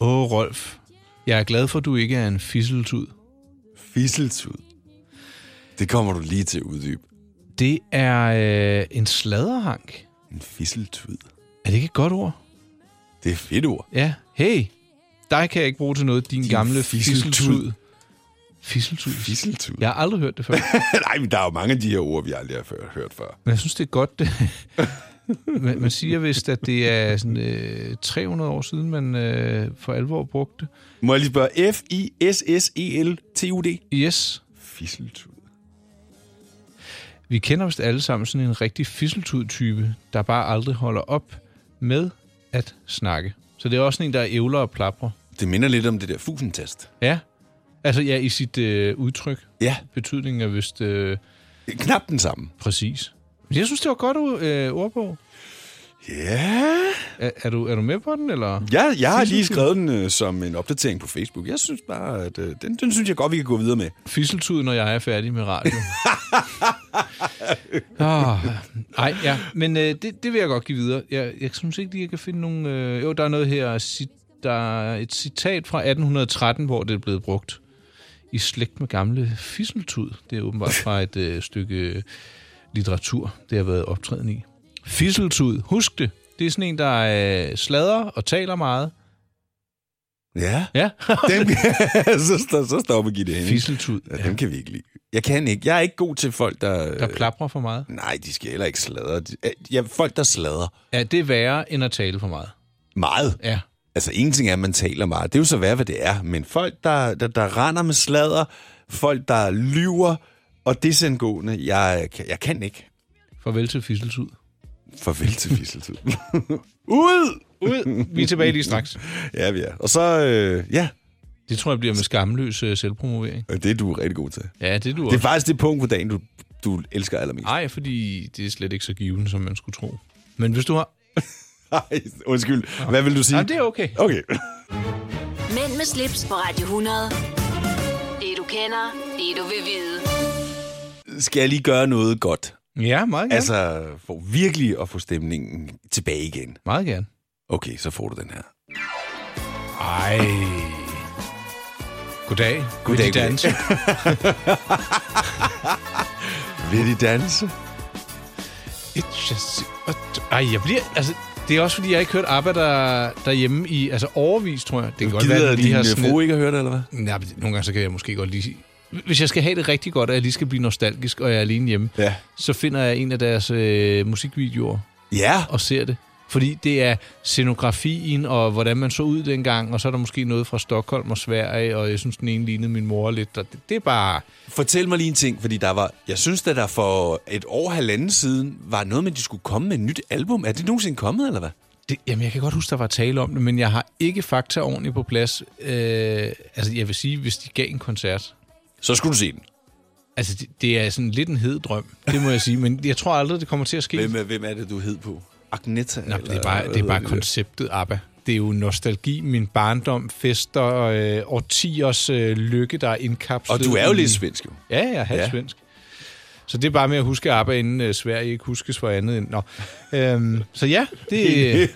Åh, oh, Rolf. Jeg er glad for, at du ikke er en fisseltud.
Fisseltud. Det kommer du lige til at uddybe.
Det er øh, en sladderhank.
En fisseltud.
Er det ikke et godt ord?
Det er et fedt ord.
Ja. Hey, dig kan jeg ikke bruge til noget, din, din gamle
fisseltud.
fisseltud. Fisseltud.
Fisseltud.
Jeg har aldrig hørt det før.
Nej, men der er jo mange af de her ord, vi aldrig har før- hørt før.
Men jeg synes, det er godt. Det. man, man siger vist, at det er sådan, øh, 300 år siden, man øh, for alvor brugte det.
Må jeg lige spørge? E F-I-S-S-E-L-T-U-D?
Yes.
Fisseltud.
Vi kender vist alle sammen sådan en rigtig fisseltud-type, der bare aldrig holder op med at snakke. Så det er også sådan en, der ævler og plapper.
Det minder lidt om det der fusentest.
Ja. Altså, ja, i sit øh, udtryk.
Ja.
Betydningen er vist... Øh,
Knap den samme.
Præcis. Men Jeg synes, det var godt u- øh, ordbog.
Ja.
Er, er, du, er du med på den, eller?
Ja, jeg har lige
Fisseltuden-
skrevet den øh, som en opdatering på Facebook. Jeg synes bare, at øh, den, den synes jeg godt, vi kan gå videre med.
Fisseltud, når jeg er færdig med radio. oh, nej, ja. Men øh, det, det vil jeg godt give videre. Jeg, jeg synes ikke lige, jeg kan finde nogen... Øh, jo, der er noget her. Cit, der er et citat fra 1813, hvor det er blevet brugt. I slægt med gamle fisseltud. Det er åbenbart fra et øh, stykke litteratur, det har været optræden i. Fisseltud, husk det. Det er sådan en, der øh, sladrer og taler meget.
Ja.
Ja.
dem, så, så, så stopper Gitte Henning.
Fisseltud.
Ja, dem kan vi ikke lide. Jeg kan ikke. Jeg er ikke god til folk, der...
Der plaprer for meget.
Nej, de skal heller ikke sladre. De- øh, Ja, folk, der sladrer.
Ja, det er værre end at tale for meget.
Meget.
Ja.
Altså, en ting er, at man taler meget. Det er jo så værd, hvad det er. Men folk, der, der, der render med sladder, folk, der lyver, og desangående, jeg, kan- jeg kan ikke.
Farvel til Fisseltud.
Farvel til Fisseltud. Ud!
Ud! Vi er tilbage lige straks.
ja, vi er. Og så, øh, ja,
Det tror jeg bliver med skamløs øh, selvpromovering.
og det er du rigtig god til.
Ja, det er du
Det er
også.
faktisk det punkt på dagen, du, du elsker allermest.
Nej, fordi det er slet ikke så given, som man skulle tro. Men hvis du har...
Nej, undskyld. Hvad vil du sige?
Jamen, Ah, det er okay.
Okay.
Mænd med slips på Radio 100. Det du kender, det du vil vide.
Skal jeg lige gøre noget godt?
Ja, meget gerne.
Altså, for virkelig at få stemningen tilbage igen.
Meget gerne.
Okay, så får du den her.
Ej. Goddag.
Goddag,
Vil de
goddag.
danse?
Vil de danse?
It's just- Ej, jeg bliver... Altså, det er også, fordi jeg ikke hørt ABBA der, derhjemme i altså overvis, tror jeg. Det kan godt
Gider
være, at de
din
har
øh,
sådan
frue
et-
ikke at høre det, eller hvad?
Nej, men nogle gange så kan jeg måske godt lige... Hvis jeg skal have det rigtig godt, og jeg lige skal blive nostalgisk, og jeg er alene hjemme,
ja.
så finder jeg en af deres øh, musikvideoer
Ja.
og ser det. Fordi det er scenografien, og hvordan man så ud dengang, og så er der måske noget fra Stockholm og Sverige, og jeg synes, den ene lignede min mor lidt. Og det, det er bare...
Fortæl mig lige en ting, fordi der var, jeg synes, at der for et år halvanden siden var noget med, at de skulle komme med et nyt album. Er det nogensinde kommet, eller hvad?
Det, jamen, jeg kan godt huske, der var tale om det, men jeg har ikke fakta ordentligt på plads. Øh, altså, jeg vil sige, hvis de gav en koncert...
Så skulle du se den.
Altså, det, det er sådan lidt en hed drøm, det må jeg sige, men jeg tror aldrig, det kommer til at ske.
Hvem, er- hvem er det, du hed på? Agneta?
Nå,
eller
det er bare,
hvad
det er bare
hedder
konceptet ABBA. Det er jo nostalgi, min barndom, fester, øh, årtiers øh, lykke, der er indkapslet.
Og du er jo
i-
lidt svensk, jo.
Ja, jeg er halvt
Ja.
ja. svensk. Så det er bare med at huske ABBA, inden øh, Sverige ikke huskes for andet end... Nå. Øhm, så ja, det, øh,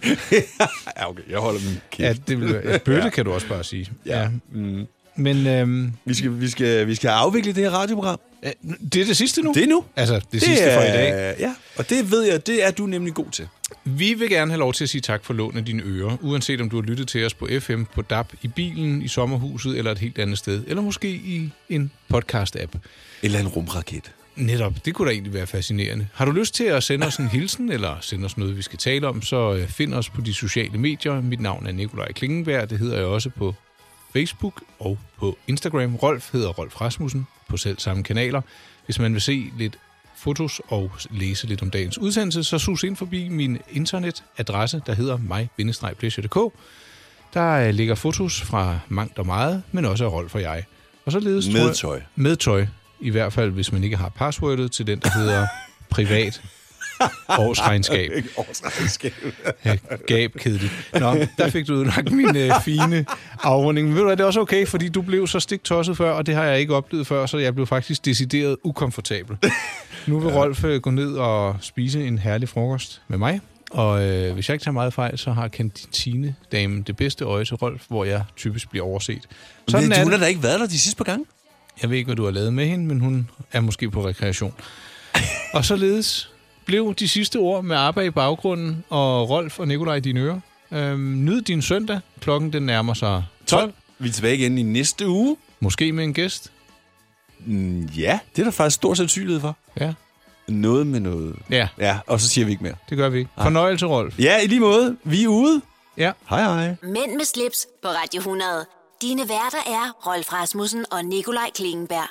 ja, okay, jeg holder min
ja,
kæft.
det vil, ja, bøtte kan du også bare sige.
Ja. ja. Mm.
Men øhm,
Vi, skal, vi, skal, vi skal afvikle det her radioprogram.
øh, det er det sidste nu.
Det er nu.
Altså, det, det sidste for i dag.
er- Ja, og det ved jeg, det er du nemlig god til.
Vi vil gerne have lov til at sige tak for lån af dine ører, uanset om du har lyttet til os på FM, på DAB, i bilen, i sommerhuset eller et helt andet sted, eller måske i en podcast-app.
Eller en rumraket.
Netop, det kunne da egentlig være fascinerende. Har du lyst til at sende os en hilsen, eller sende os noget, vi skal tale om, så øh, find os på de sociale medier. Mit navn er Nikolaj Klingenberg, det hedder jeg også på Facebook og på Instagram. Rolf hedder Rolf Rasmussen på selv samme kanaler. Hvis man vil se lidt fotos og læse lidt om dagens udsendelse, så sus ind forbi min internetadresse, der hedder mig-pleasure.dk. Der øh, ligger fotos fra mangt og meget, men også af Rolf og jeg. Og således tror
Med
jeg-
tøj.
Med tøj. I hvert fald, hvis man ikke har passwordet til den, der hedder privat årsregnskab. Ja, Gab, kedeligt. Nå, der fik du udlagt min øh, fine afrunding. Men ved du hvad, det er også okay, fordi du blev så stiktosset før, og det har jeg ikke oplevet før, så jeg blev faktisk decideret ukomfortabel. Nu vil Rolf øh, gå ned og spise en herlig frokost med mig. Og øh, hvis jeg ikke tager meget fejl, så har kantinedamen det bedste øje til Rolf, hvor jeg typisk bliver overset.
Sådan
er
hun har
det.
da ikke været der de sidste par gange.
Jeg ved ikke, hvad du har lavet med hende, men hun er måske på rekreation. og således blev de sidste ord med arbejde i baggrunden, og Rolf og Nikolaj i dine ører. Øhm, nyd din søndag. Klokken den nærmer sig 12.
12. Vi er tilbage igen i næste uge.
Måske med en gæst.
Mm, ja, det er der faktisk stor sandsynlighed for.
Ja.
Noget med noget.
Ja,
Ja, og så siger vi ikke mere.
det gør vi ikke. Fornøjelse, Rolf.
Ja, i lige måde. Vi er ude.
Ja.
Hej hej.
Mænd med slips på Radio 100. Dine værter er Rolf Rasmussen og Nikolaj Klingenberg.